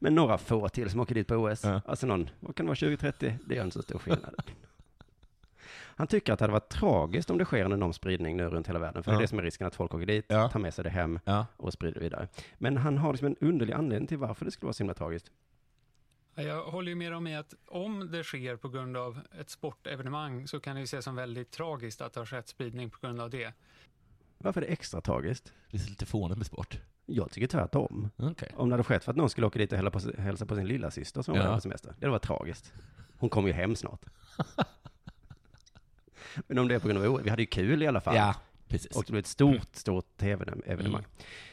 C: Men några få till som åker dit på OS.
D: Ja.
C: Alltså någon, vad kan det vara, 20-30? Det gör inte så stor skillnad. Han tycker att det hade varit tragiskt om det sker en enorm spridning nu runt hela världen. För det
D: Ja.
C: är det som är risken, att folk åker dit,
D: Ja.
C: tar med sig det hem
D: Ja.
C: och sprider det vidare. Men han har liksom en underlig anledning till varför det skulle vara så himla tragiskt.
E: Ja, Jag håller ju med om i att om det sker på grund av ett sportevenemang så kan det ju ses som väldigt tragiskt att det har skett spridning på grund av det.
C: Varför är det extra tragiskt?
D: Det är lite fånigt med sport.
C: Jag tycker tvärtom.
D: Okej.
C: Om det hade skett för att någon skulle åka dit och hälla på, hälsa på sin lilla syster som var
D: Ja.
C: där på semester. Det hade varit tragiskt. Hon kom ju hem snart. Men om det är på grund av OS, vi hade ju kul i alla fall.
D: Ja, Mm. precis.
C: Och det blev ett stort, stort tv-evenemang.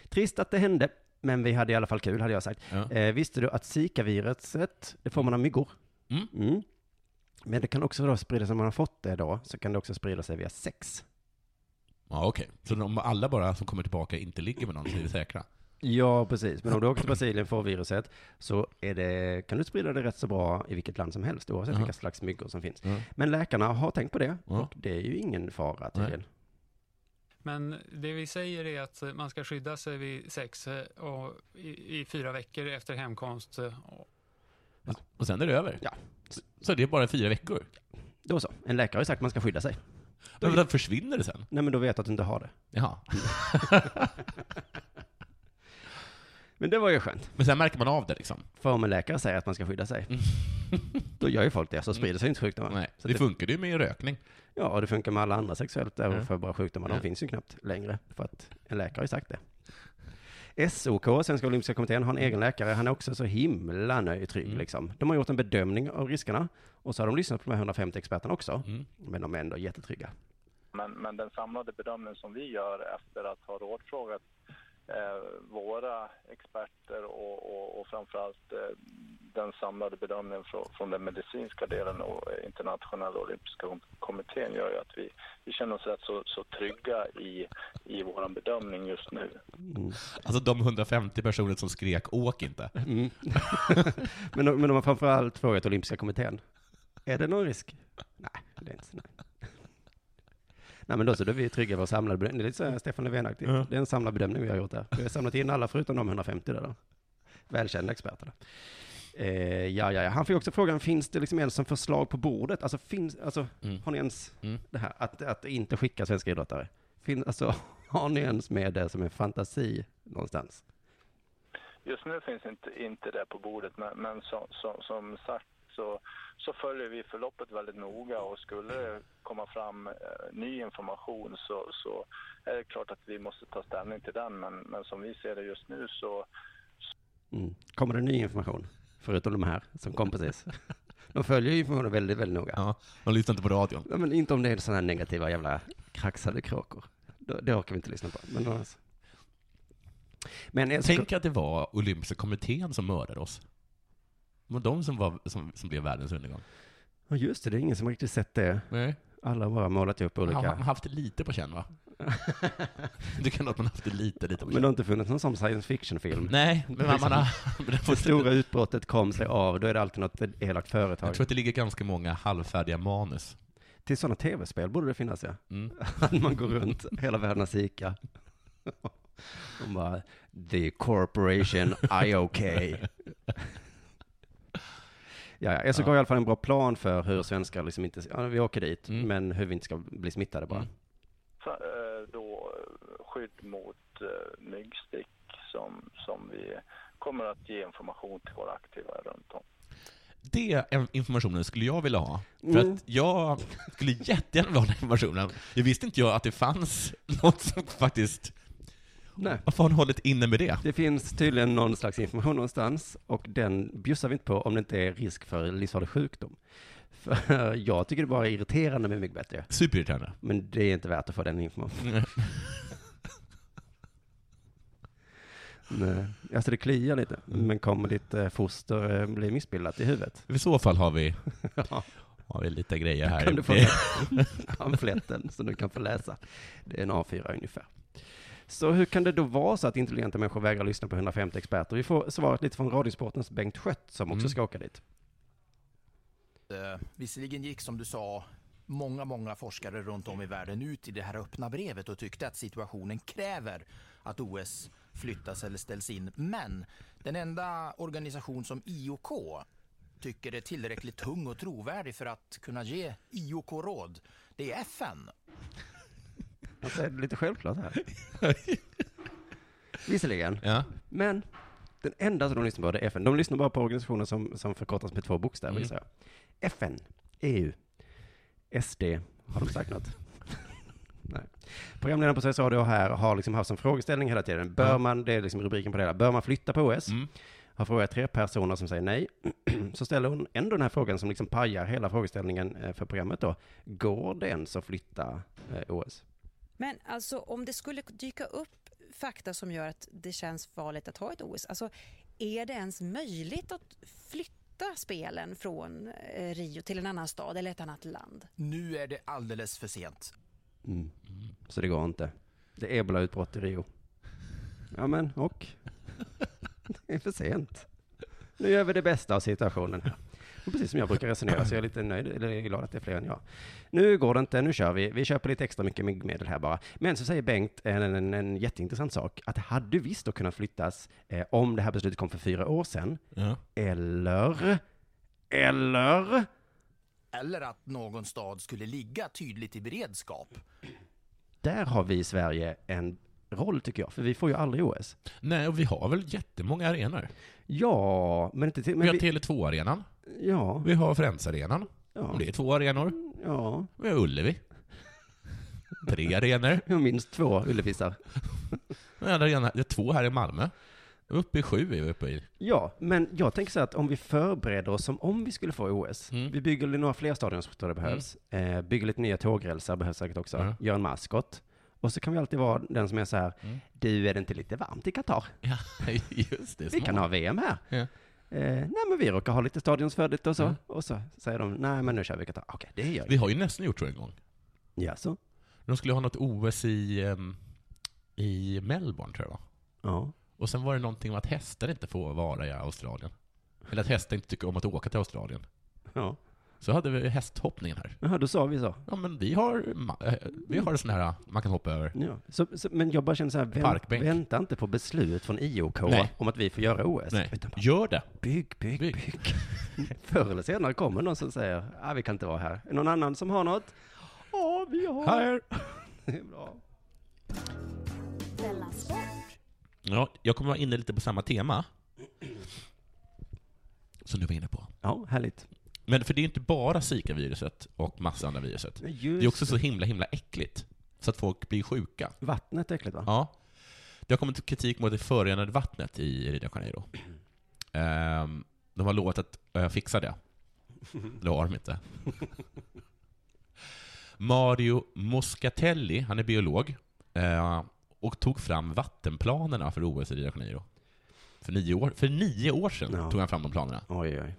C: Trist att det hände, men vi hade i alla fall kul, hade jag sagt.
D: Ja.
C: Eh, visste du att Zika-viruset, det får man av myggor?
D: Mm.
C: Mm. Men det kan också då spridas, om man har fått det då, så kan det också sprida sig via sex.
D: Ja, okej. Så om alla bara som kommer tillbaka inte ligger med någon så är vi säkra?
C: Ja, precis. Men om du åker till Brasilien och får viruset, så är det, kan du sprida det rätt så bra i vilket land som helst, oavsett
D: Ja.
C: vilka slags myggor som finns.
D: Ja.
C: Men läkarna har tänkt på det,
D: Ja.
C: och det är ju ingen fara tydligen.
E: Men det vi säger är att eh, man ska skydda sig vid sex eh, och i, i fyra veckor efter hemkomst eh,
D: Och sen är det över?
C: Ja.
D: Så det är bara fyra veckor?
C: Då så. En läkare har ju sagt att man ska skydda sig.
D: Men då försvinner det sen?
C: Nej, men då vet du att du inte har det.
D: Jaha.
C: Men det var ju skönt.
D: Men sen märker man av det liksom?
C: För om en läkare säger att man ska skydda sig, då gör ju folk det, så sprider sig inte sjukdomar.
D: Nej.
C: Så
D: Mm. Det
C: det-
D: funkar ju med rökning.
C: Ja, och det funkar med alla andra sexuellt överförbara sjukdomar. De
D: Ja.
C: finns ju knappt längre, för att en läkare har ju sagt det. SOK, Svenska Olympiska Kommittén, har en egen läkare. Han är också så himla nöjd och trygg.
D: Mm.
C: Liksom. De har gjort en bedömning av riskerna och så har de lyssnat på de här 150 experterna också.
D: Mm.
C: Men de är ändå jättetrygga.
F: Men, men den samlade bedömning som vi gör efter att ha rådfrågat eh, våra experter och, och, och framförallt eh, den samlade bedömningen från, från den medicinska delen och eh, internationella olympiska kom- kommittén gör ju att vi, vi känner oss rätt så, så trygga i, i vår bedömning just nu.
C: Mm.
D: Alltså de 150 personer som skrek ”åk inte”.
C: Mm. men, de, men de har framförallt frågat Olympiska kommittén. Är det någon risk? Nej, det är inte så. Nej. Nej men då så, då är vi trygga i vår samlade bedömning. Det är lite så här Stefan Löfven-aktigt.
D: Ja.
C: Det är en samlad bedömning vi har gjort där. Vi har samlat in alla förutom de 150 där då. Välkända experter. Eh, ja, ja, ja. Han fick också frågan, finns det liksom ens som förslag på bordet? Alltså, finns, alltså
D: Mm.
C: har ni ens
D: Mm.
C: det här, att, att inte skicka svenska idrottare? Fin, alltså, har ni ens med det som en fantasi någonstans?
F: Just nu finns inte, inte det på bordet, men, men som, som, som sagt så, så följer vi förloppet väldigt noga och skulle det komma fram eh, ny information så, så är det klart att vi måste ta ställning till den. Men, men som vi ser det just nu så
C: Mm. Kommer det ny information? Förutom de här som kom precis. De följer ju informationen väldigt, väldigt noga.
D: Ja, de lyssnar inte på radion.
C: Ja, men inte om det är sådana här negativa jävla kraxade kråkor. Då, det orkar vi inte lyssna på. Men, annars. men jag
D: Tänk att det var Olympiska kommittén som mördade oss. Det var de som, var, som, som blev världens undergång.
C: Ja, just det, det är ingen som riktigt sett det.
D: Nej.
C: Alla har bara målat upp
D: Man har man har
C: olika.
D: haft det lite på känn, va? Du kan ha att man har haft det lite, lite på
C: men det
D: känn.
C: har inte funnits någon sån science fiction-film.
D: Nej, men man, man har... men det
C: Det
D: får-
C: stora utbrottet kom sig av, då är det alltid något elakt företag.
D: Jag tror att det ligger ganska många halvfärdiga manus.
C: Till sådana tv-spel borde det finnas, ja.
D: Mm.
C: Att man går runt, hela världen har sika. De bara, the corporation IOK. Ja, ja, SOK har i alla fall en bra plan för hur svenskar liksom inte, ja, vi åker dit,
D: Mm.
C: men hur vi inte ska bli smittade bara.
D: Mm.
F: så, eh, då eh, skydd mot eh, myggstick som, som vi kommer att ge information till våra aktiva runt om.
D: Det är en- informationen skulle jag vilja ha. För
C: Mm.
D: att jag skulle jättegärna vilja ha den informationen. Jag visste inte jag att det fanns något som faktiskt...
C: Nej.
D: Varför har ni hållit inne med det?
C: Det finns tydligen någon slags information någonstans och den bjussar vi inte på om det inte är risk för livsfarlig sjukdom. För jag tycker det bara är irriterande med mycket bättre.
D: Superirriterande.
C: Men det är inte värt att få den informationen. Nej. Alltså det kliar lite,
D: Mm.
C: men kommer ditt eh, foster eh, bli missbildat i huvudet?
D: I så fall har vi,
C: Ja,
D: har vi lite grejer här.
C: kan du få
D: Det-
C: den pamfletten som du kan få läsa. Det är en A4 ungefär. Så hur kan det då vara så att intelligenta människor vägrar lyssna på 150 experter? Vi får svaret lite från Radiosportens Bengt Skött som också
D: Mm.
C: ska åka dit.
G: Eh, Visserligen gick som du sa många, många forskare runt om i världen ut i det här öppna brevet och tyckte att situationen kräver att OS flyttas eller ställs in. Men den enda organisation som IOK tycker är tillräckligt tung och trovärdig för att kunna ge IOK-råd, det är FN.
C: Han säger det lite självklart här. Visserligen,
D: Ja.
C: Men den enda som de lyssnar på det är FN. De lyssnar bara på organisationer som, som förkortas med två bokstäver,
D: Mm.
C: gissar jag. FN, E EU, SD, har de sagt något? Nej. Programledaren på Sveriges Radio här har liksom haft som frågeställning hela tiden, bör
D: Ja.
C: man, det är liksom rubriken på det hela, bör man flytta på OS?
D: Mm.
C: Har frågat tre personer som säger nej. Så ställer hon ändå den här frågan som liksom pajar hela frågeställningen eh, för programmet då. Går det ens att flytta eh, OS?
H: Men alltså om det skulle dyka upp fakta som gör att det känns farligt att ha ett OS, alltså är det ens möjligt att flytta spelen från eh, Rio till en annan stad eller ett annat land?
G: Nu är det alldeles för sent.
C: Mm. Så det går inte. Det är ebolautbrott i Rio. Ja men, och? Det är för sent. Nu gör vi det bästa av situationen här. Och Precis som jag brukar resonera, så jag är lite nöjd, eller jag är glad att det är fler än jag. Nu går det inte, nu kör vi. Vi köper lite extra mycket myggmedel här bara. Men så säger Bengt en, en, en jätteintressant sak, att det hade visst då kunnat flyttas eh, om det här beslutet kom för fyra år sedan.
D: Ja.
C: Eller, eller,
G: Eller att någon stad skulle ligga tydligt i beredskap.
C: där har vi i Sverige en roll tycker jag, för vi får ju aldrig OS.
D: Nej, och vi har väl jättemånga arenor.
C: Ja, men inte till...
D: vi
C: Men
D: har
C: vi,
D: Tele2-arenan,
C: ja,
D: vi har Friends-arenan.
C: ja,
D: Det är två arenor.
C: ja.
D: Vi har Ullevi. Tre arenor.
C: Jag minns två Ullefisar.
D: Den andra arenan, det är två här i Malmö. Uppe i sju är vi uppe i.
C: Ja, men jag tänker så här att om vi förbereder oss som om vi skulle få OS.
D: Mm.
C: Vi bygger några fler stadion som jag tror det behövs. Eh, bygger lite nya tågrälsar behövs säkert också.
D: Ja.
C: Gör en maskot. Och så kan vi alltid vara den som är så här,
D: Mm.
C: du är det inte lite varmt i Qatar?
D: Ja, just det.
C: Vi kan
D: smart.
C: ha VM här.
D: Ja.
C: Eh, nej men vi råkar ha lite stadionsfödigt och så.
D: Ja.
C: Och så säger de, nej men nu kör vi Qatar. Okej, det gör vi.
D: Vi har ju nästan gjort så en gång.
C: Ja, så.
D: De skulle ha något OS i, ehm, i Melbourne, tror jag va?
C: Ja.
D: Och sen var det någonting om att hästar inte får vara i Australien. Eller att hästar inte tycker om att åka till Australien.
C: ja.
D: Så hade vi hästhoppningen här.
C: Jaha, då sa vi så.
D: Ja, men vi har, ma- eh, vi har sån här man kan hoppa över.
C: Ja. Så, så, men jag bara känner så här, vänt,
D: Parkbänk.
C: vänta inte på beslut från IOK
D: Nej.
C: om att vi får göra OS.
D: Nej,
C: Utan bara,
D: gör det.
C: bygg, bygg,
D: Bygg.
C: bygg. Förr eller senare kommer någon som säger, ah, vi kan inte vara här. Någon annan som har något? Ja, vi har.
D: Här.
C: Det är bra.
B: Della Sport.
D: Ja, jag kommer vara inne lite på samma tema. Som du var inne på.
C: Ja, härligt.
D: Men för det är ju inte bara Zika-viruset och massa andra viruset. Det är också så himla, himla äckligt. Så att folk blir sjuka.
C: Vattnet är äckligt va?
D: Ja. Det har kommit kritik mot det förorenade vattnet i Rio de Janeiro. Ehm, de har lovat att eh, fixa det. Det har de inte. Mario Moscatelli, han är biolog, eh, och tog fram vattenplanerna för OS i Rio de Janeiro. För nio år, för nio år sedan
C: Ja.
D: tog han fram de planerna.
C: Oj, oj.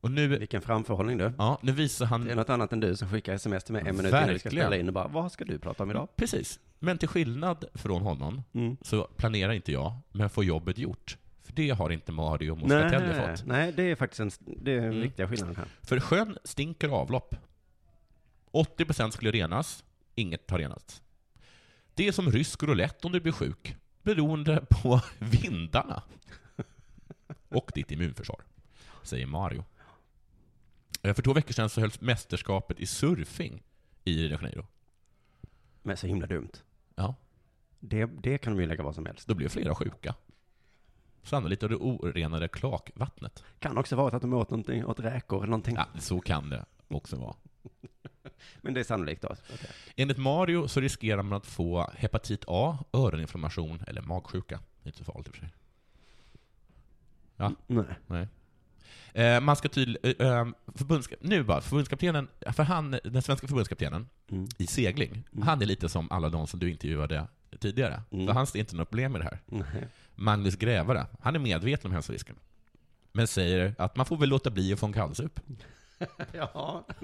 D: Och nu,
C: Vilken framförhållning du.
D: ja, nu visar han...
C: Det är något annat än du som skickar sms till mig en minut innan vi ska
D: Verkligen.
C: spela in och bara, vad ska du prata om idag?
D: Precis. Men till skillnad från honom
C: Mm.
D: så planerar inte jag, men får jobbet gjort. För det har inte Mario Moscatelli fått.
C: nej, det är faktiskt en, det är den
D: Mm.
C: viktiga skillnaden här.
D: För sjön stinker avlopp. 80% skulle renas, inget har renats. Det är som rysk roulette om du blir sjuk, beroende på vindarna. Och ditt immunförsvar, säger Mario. Eh, För två veckor sedan så hölls mästerskapet i surfing i Rio de Janeiro.
C: Men så himla dumt.
D: Ja.
C: Det, det kan de ju lägga vad som helst.
D: Då blev flera sjuka. Sannolikt av det orenade klakvattnet.
C: Kan också vara att de åt någonting, åt räkor eller någonting.
D: Ja, så kan det också vara.
C: Men det är sannolikt då. Okej.
D: Enligt Mario så riskerar man att få hepatit A, öroninflammation eller magsjuka. Det är inte så farligt i och för sig.
C: Nej.
D: Eh, man ska tydligen... Eh, eh, förbundska- nu bara, förbundskaptenen, för han, den svenska förbundskaptenen
C: Mm.
D: i segling,
C: Mm.
D: han är lite som alla de som du intervjuade tidigare.
C: Mm.
D: För han ser inte något problem med det här.
C: Nej.
D: Magnus Grävare, han är medveten om hälsorisken. Men säger att man får väl låta bli att få en kallsup.
C: Ja.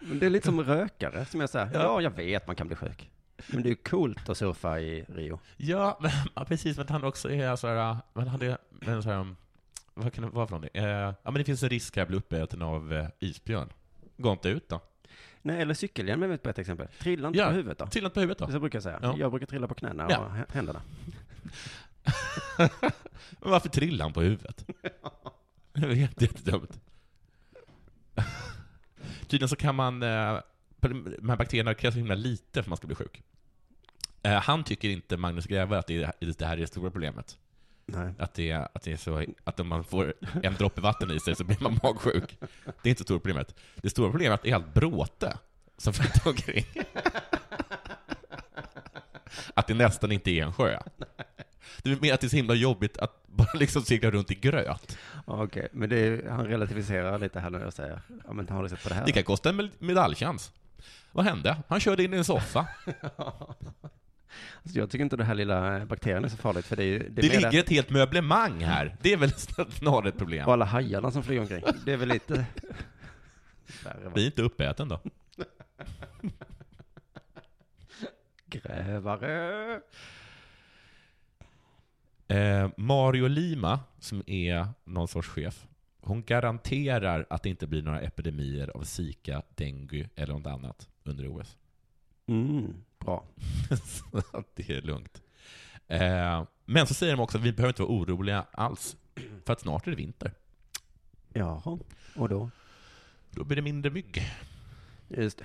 C: Men det är lite som rökare, som jag säger.
D: Ja.
C: Ja, jag vet man kan bli sjuk. Men det är ju coolt att surfa i Rio.
D: Ja, men, ja, precis. Men han också är såhär, men han är, men såhär, um, vad kan det vara för någonting? Eh, ja, men det finns en risk här att bli uppäten av eh, isbjörn. Gå inte ut då.
C: Nej, eller cykelhjälm är väl ett bättre exempel. Trilla inte
D: Ja.
C: på huvudet då.
D: Trillat på huvudet då.
C: Så brukar jag säga.
D: Ja.
C: Jag brukar trilla på knäna
D: Ja.
C: och hä- händerna.
D: Men varför trillade han på huvudet? Det var jätte- jättedumt. Tydligen så kan man, eh, de här bakterierna krävs så himla lite för att man ska bli sjuk. Eh, han tycker inte, Magnus Gräve, att det, är, det här är det stora problemet.
C: Nej.
D: Att, det, är- att, det är så, att om man får en droppe vatten i sig så blir man magsjuk. Det är inte det stora problemet. Det stora problemet är allt bråte som flyter omkring. Att det nästan inte är en sjö. Du menar att det är så himla jobbigt att bara liksom segla runt i gröt?
C: Ja, Okej, men det är, han relativiserar lite här när jag säger, ja men har du sett på det här?
D: Det kan kosta en med- medaljchans. Vad hände? Han körde in i en soffa.
C: Alltså, jag tycker inte det här lilla bakterien är så farligt, för det är ju...
D: Det,
C: är mer
D: ligger ett helt möblemang här. Det är väl snarare ett problem.
C: Och alla hajarna som flyger omkring. Det är väl lite... Värre va?
D: Bli inte uppäten då.
C: Grävare!
D: Eh, Mario Lima, som är någon sorts chef, hon garanterar att det inte blir några epidemier av zika, dengue eller något annat under OS.
C: Mm, bra.
D: Så att det är lugnt. Eh, men så säger de också att vi behöver inte vara oroliga alls, för att snart är det vinter.
C: Jaha, och då?
D: Då blir det mindre mygg.
C: Just det.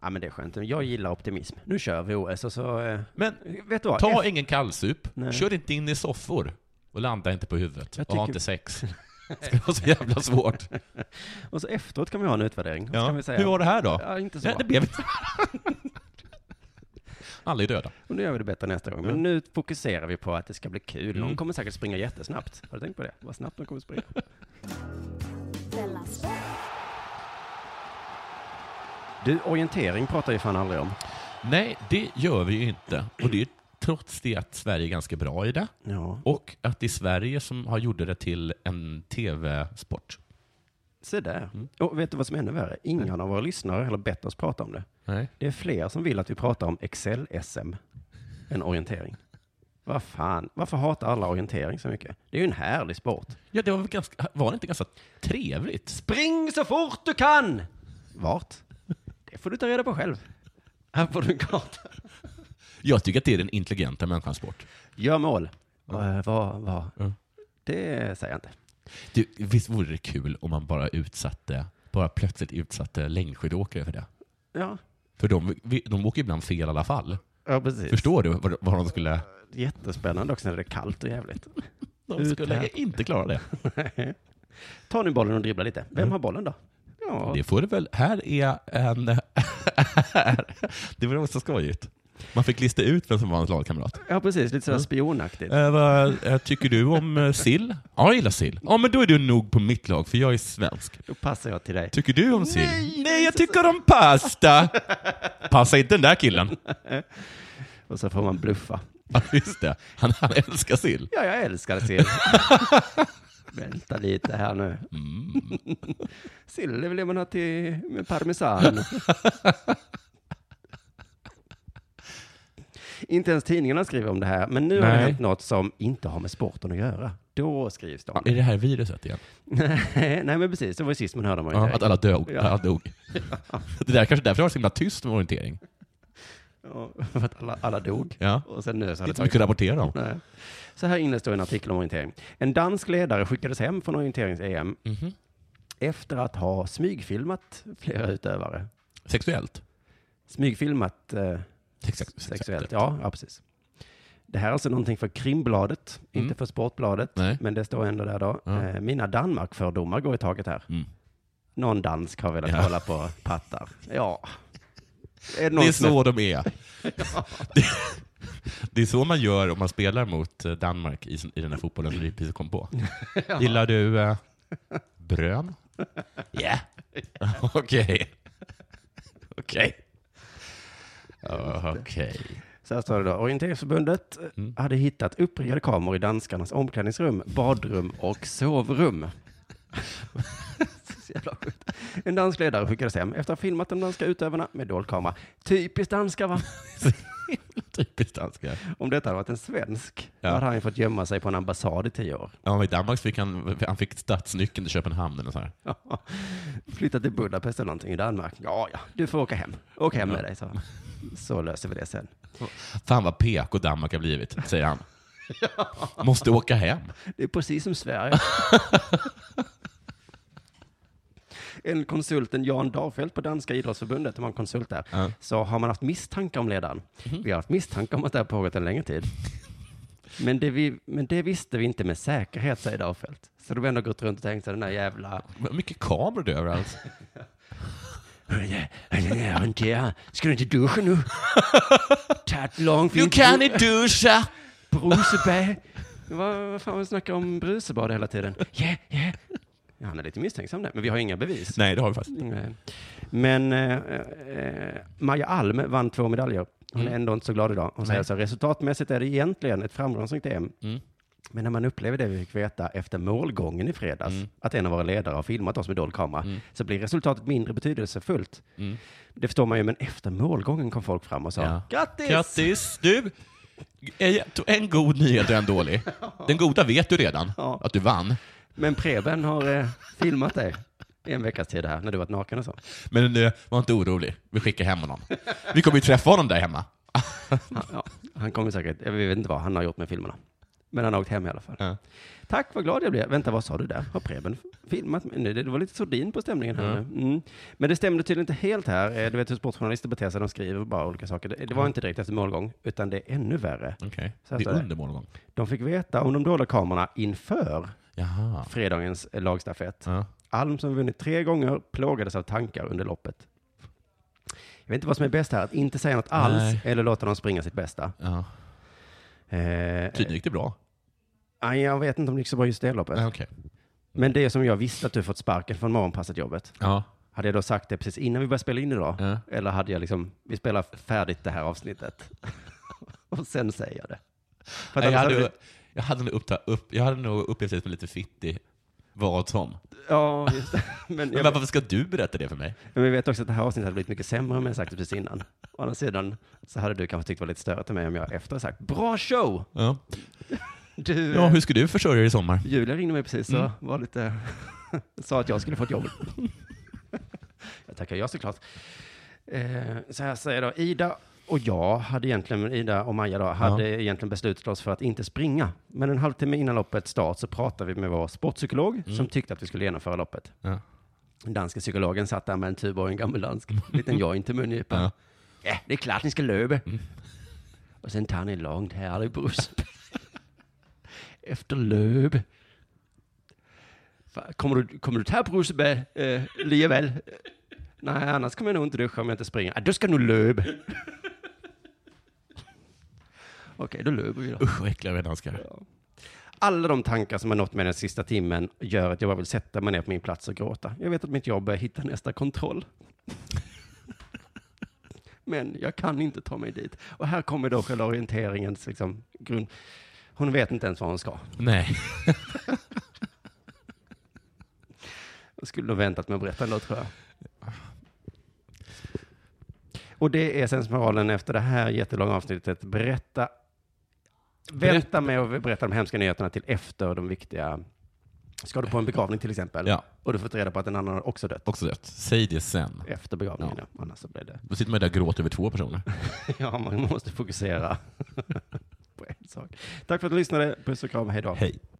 C: Ja men det är skönt. Jag gillar optimism. Nu kör vi OS och så... eh,
D: Men
C: Vet du vad?
D: ta
C: F-
D: ingen kallsup,
C: Nej.
D: kör inte in i soffor, och landa inte på huvudet,
C: Jag
D: och ha
C: tycker-
D: inte sex. Det ska vara så jävla svårt.
C: och så efteråt kan vi ha en utvärdering. Och Så
D: Ja.
C: kan vi säga,
D: Hur var det här då?
C: Ja, inte så
D: Nej,
C: bra.
D: det blev inte. Alla är döda.
C: Och nu gör vi det bättre nästa gång. Men nu fokuserar vi på att det ska bli kul. Någon
D: Mm.
C: kommer säkert springa jättesnabbt. Har du tänkt på det? Vad snabbt de kommer springa.
B: Della Sport.
C: Du, orientering pratar ju fan aldrig om.
D: Nej, det gör vi ju inte. Och det är trots det att Sverige är ganska bra i det.
C: Ja.
D: Och att det är Sverige som har gjort det till en tv-sport.
C: Se där.
D: Mm.
C: Och vet du vad som är ännu värre? Ingen av våra lyssnare har heller bett oss prata om det.
D: Nej.
C: Det är fler som vill att vi pratar om Excel-SM än orientering. Vad fan, varför hatar alla orientering så mycket? Det är ju en härlig sport.
D: Ja, det var, väl ganska, var det inte ganska trevligt?
C: Spring så fort du kan! Vart? Det får du ta reda på själv. Här får du en karta.
D: Jag tycker att det är den intelligenta människans sport.
C: Gör mål. Eh, vad, vad?
D: Ja.
C: Det säger jag inte.
D: Du, visst vore det kul om man bara utsatte, bara plötsligt utsatte längdskidåkare för det?
C: Ja,
D: För de, vi- de åker ibland fel i alla fall.
C: ja precis.
D: Förstår du vad, vad de skulle...
C: Jättespännande också när det är kallt och jävligt.
D: De skulle
C: Uthärdligt.
D: inte klara det.
C: Ta nu bollen och dribbla lite. Vem har bollen då? Mm. Ja,
D: Det får du väl. Här är en... det var också skojigt. Man fick lista ut vem som var hans lagkamrat.
C: ja precis. Lite sådär spionaktigt.
D: Eh, vad eh, tycker du om eh, sill? Ja, jag gillar sill. Ja, men då är du nog på mitt lag, för jag är svensk.
C: Då passar jag till dig.
D: Tycker du om sill? Nej, jag tycker om pasta! Passa inte den där killen.
C: Och så får man bluffa.
D: Ja, just det. Han, han älskar sill.
C: Ja, jag älskar sill. Vänta lite här nu.
D: Mm.
C: sill vill man ha till med parmesan. inte ens tidningarna skriver om det här, men nu har det
D: Nej.
C: hänt något som inte har med sporten att göra. Då skrivs det om
D: Är det här viruset igen?
C: det. Nej, men precis. Det var ju sist man hörde om
D: Ja,
C: orientering.
D: att alla dog.
C: Ja.
D: Alla dog. Det där kanske därför det var så himla tyst med orientering.
C: Ja, för att alla, alla dog.
D: Ja.
C: Och sen nu så
D: Det
C: har
D: är
C: det
D: inte
C: tagit
D: mycket att rapportera om.
C: Nej. Så här inne står en artikel om orientering. En dansk ledare skickades hem från orienterings-EM
D: Mhm.
C: efter att ha smygfilmat flera utövare.
D: Sexuellt.
C: Smygfilmat eh,
D: Sex- sex-
C: sexuellt. Ja, ja, precis. Det här är alltså någonting för Krimbladet,
D: Mm.
C: inte för Sportbladet.
D: Nej.
C: Men det står ändå där då.
D: Ja.
C: Eh, mina Danmark-fördomar går i taget här.
D: Mm.
C: Någon dansk har velat
D: Ja.
C: kolla på pattar. Ja. Är det
D: Det
C: någon
D: är
C: som är-
D: så de är. Det, det är så man gör om man spelar mot eh, Danmark i, sin- i den här fotbollen som vi precis kom på. Gillar du eh, brön? Yeah. Okej. Okej. Okej.
C: Så här står det då. Orienteringsförbundet eh,
D: Mm.
C: hade hittat uppriggade kameror i danskarnas omklädningsrum, badrum och sovrum. Så jävla sjukt. en dansk ledare skickades hem efter att ha filmat de danska utövarna med dold kamera. Typiskt danska va?
D: Typiskt danskar.
C: Om detta hade varit en svensk,
D: Ja.
C: då hade han ju fått gömma sig på en ambassad i tio år.
D: Ja, men I Danmark fick han, han fick stadsnyckeln till Köpenhamn. Eller så här.
C: Flyttat till Budapest eller någonting i Danmark. Ja, ja, du får åka hem. Åk hem med dig, så. Så löser vi det sen.
D: Fan vad PK Danmark har blivit, säger han. Måste åka hem.
C: Det är precis som Sverige. En konsulten Jan Dahfeldt på Danska idrottsförbundet, de har en konsult där,
D: Ja.
C: så har man haft misstankar om ledaren. Vi har haft misstankar om att det har pågått en längre tid. Men det, vi, men det visste vi inte med säkerhet, säger Dahfeldt. Så de har ändå gått runt och tänkt sig den här jävla...
D: Mycket kameror överallt.
C: Orientera, ska du inte duscha nu? Ta ett långt fint
D: inte duscha!
C: Brusebad. Vad, vad fan, vi snackar om brusebad hela tiden. Yeah, yeah. Ja, han är lite misstänksam där, men vi har inga bevis.
D: Nej, det har vi faktiskt.
C: Nej. Men eh, eh, Maja Alm vann två medaljer. Hon är ändå inte så glad idag. Hon säger
D: Mm. Nej.
C: så här, resultatmässigt är det egentligen ett framgångsrikt EM.
D: Mm.
C: Men när man upplever det vi fick veta efter målgången i fredags,
D: Mm.
C: att en av våra ledare har filmat oss med dold kamera, så blir resultatet mindre betydelsefullt.
D: Mm.
C: Det förstår man ju, men efter målgången kom folk fram och sa,
D: Ja.
C: grattis!
D: Grattis! Du, eh, en god nyhet och en dålig. Den goda vet du redan,
C: Ja.
D: att du vann.
C: Men Preben har eh, filmat dig i en veckas tid här, när du varit naken och så.
D: Men eh, var inte orolig, vi skickar hem honom. Vi kommer ju träffa honom där hemma.
C: Han, ja, han kommer säkert, jag vet inte vad han har gjort med filmerna. Men han har åkt hem i alla fall.
D: Ja.
C: Tack, vad glad jag blev. Vänta, vad sa du där? Har Preben filmat? mig? Nej, Det det var lite sordin på stämningen här
D: Ja.
C: nu. mm. Men det stämde tydligen inte helt här. Eh, Du vet hur sportjournalister beter sig, de skriver bara olika saker. Det, det var inte direkt efter målgång, utan det är ännu värre.
D: Okej,
C: Så här
D: det
C: står
D: är
C: det.
D: under målgång.
C: De fick veta om de dolda kamerorna inför
D: Jaha.
C: fredagens eh, lagstafett.
D: Ja.
C: Alm som vunnit tre gånger plågades av tankar under loppet. Jag vet inte vad som är bäst här, att inte säga något alls
D: Nej.
C: eller låta dem springa sitt bästa.
D: Ja.
C: Eh,
D: Tydligen gick det bra.
C: Nej, jag vet inte om det gick så bra just det loppet.
D: Ja, okej.
C: Men det som jag visste att du fått sparken från morgonpasset-jobbet,
D: Ja.
C: hade jag då sagt det precis innan vi började spela in idag?
D: Ja.
C: Eller hade jag liksom, vi spelar färdigt det här avsnittet. och sen säger jag det. För att
D: Nej, Jag
C: annars hade
D: hade, jag hade nog uppta- upp, jag hade nog upplevt det som lite fittig vad som.
C: Ja, just det. Men,
D: Men
C: jag,
D: varför ska du berätta det för mig?
C: men vi vet också att det här avsnittet hade blivit mycket sämre om jag sagt det precis innan. Å andra sidan så hade du kanske tyckt det var lite större till mig om jag efter sagt bra show!
D: Ja.
C: Du,
D: ja, hur ska du försörja dig i sommar?
C: Julia ringde mig precis och var lite, sa att jag skulle få ett jobb. jag tackar ja såklart. Eh, så här säger då, Ida och jag hade egentligen, Ida och Maja då, hade egentligen beslutat oss för att inte springa. Men en halvtimme innan loppet start så pratade vi med vår sportpsykolog som tyckte att vi skulle genomföra loppet.
D: Ja.
C: Den danska psykologen satt där med en tuba och en gammal dansk liten joint i mungipan. Ja.
D: Ja.
C: det är klart ni ska löpa. Och sen tar ni långt här i bussen. Efter löp. Fan, Kommer du, kommer du ta brusebär, eh, Lievel? Nej, annars kommer jag nog inte duscha om jag inte springer. Ah, då ska du nog löpa. Okej, då löper vi då.
D: Usch, vad äckliga vi är danskar.
C: Alla de tankar som har nått mig den sista timmen gör att jag bara vill sätta mig ner på min plats och gråta. Jag vet att mitt jobb är att hitta nästa kontroll. Men jag kan inte ta mig dit. Och här kommer då själva orienteringens liksom, grund. Hon vet inte ens vad hon ska.
D: Nej.
C: Jag skulle nog väntat med att berätta ändå, tror jag. Och det är sensmoralen efter det här jättelånga avsnittet. Berätta. Vänta med att berätta de hemska nyheterna till efter de viktiga. Ska du på en begravning till exempel?
D: Ja,
C: Och du får reda på att en annan har också dött.
D: också dött. Säg det sen.
C: Efter begravningen, ja. Annars så blir det...
D: Då sitter man där och gråter över två personer.
C: Ja, man måste fokusera på en sak. Tack för att du lyssnade. Puss och kram, hej då.
D: Hej.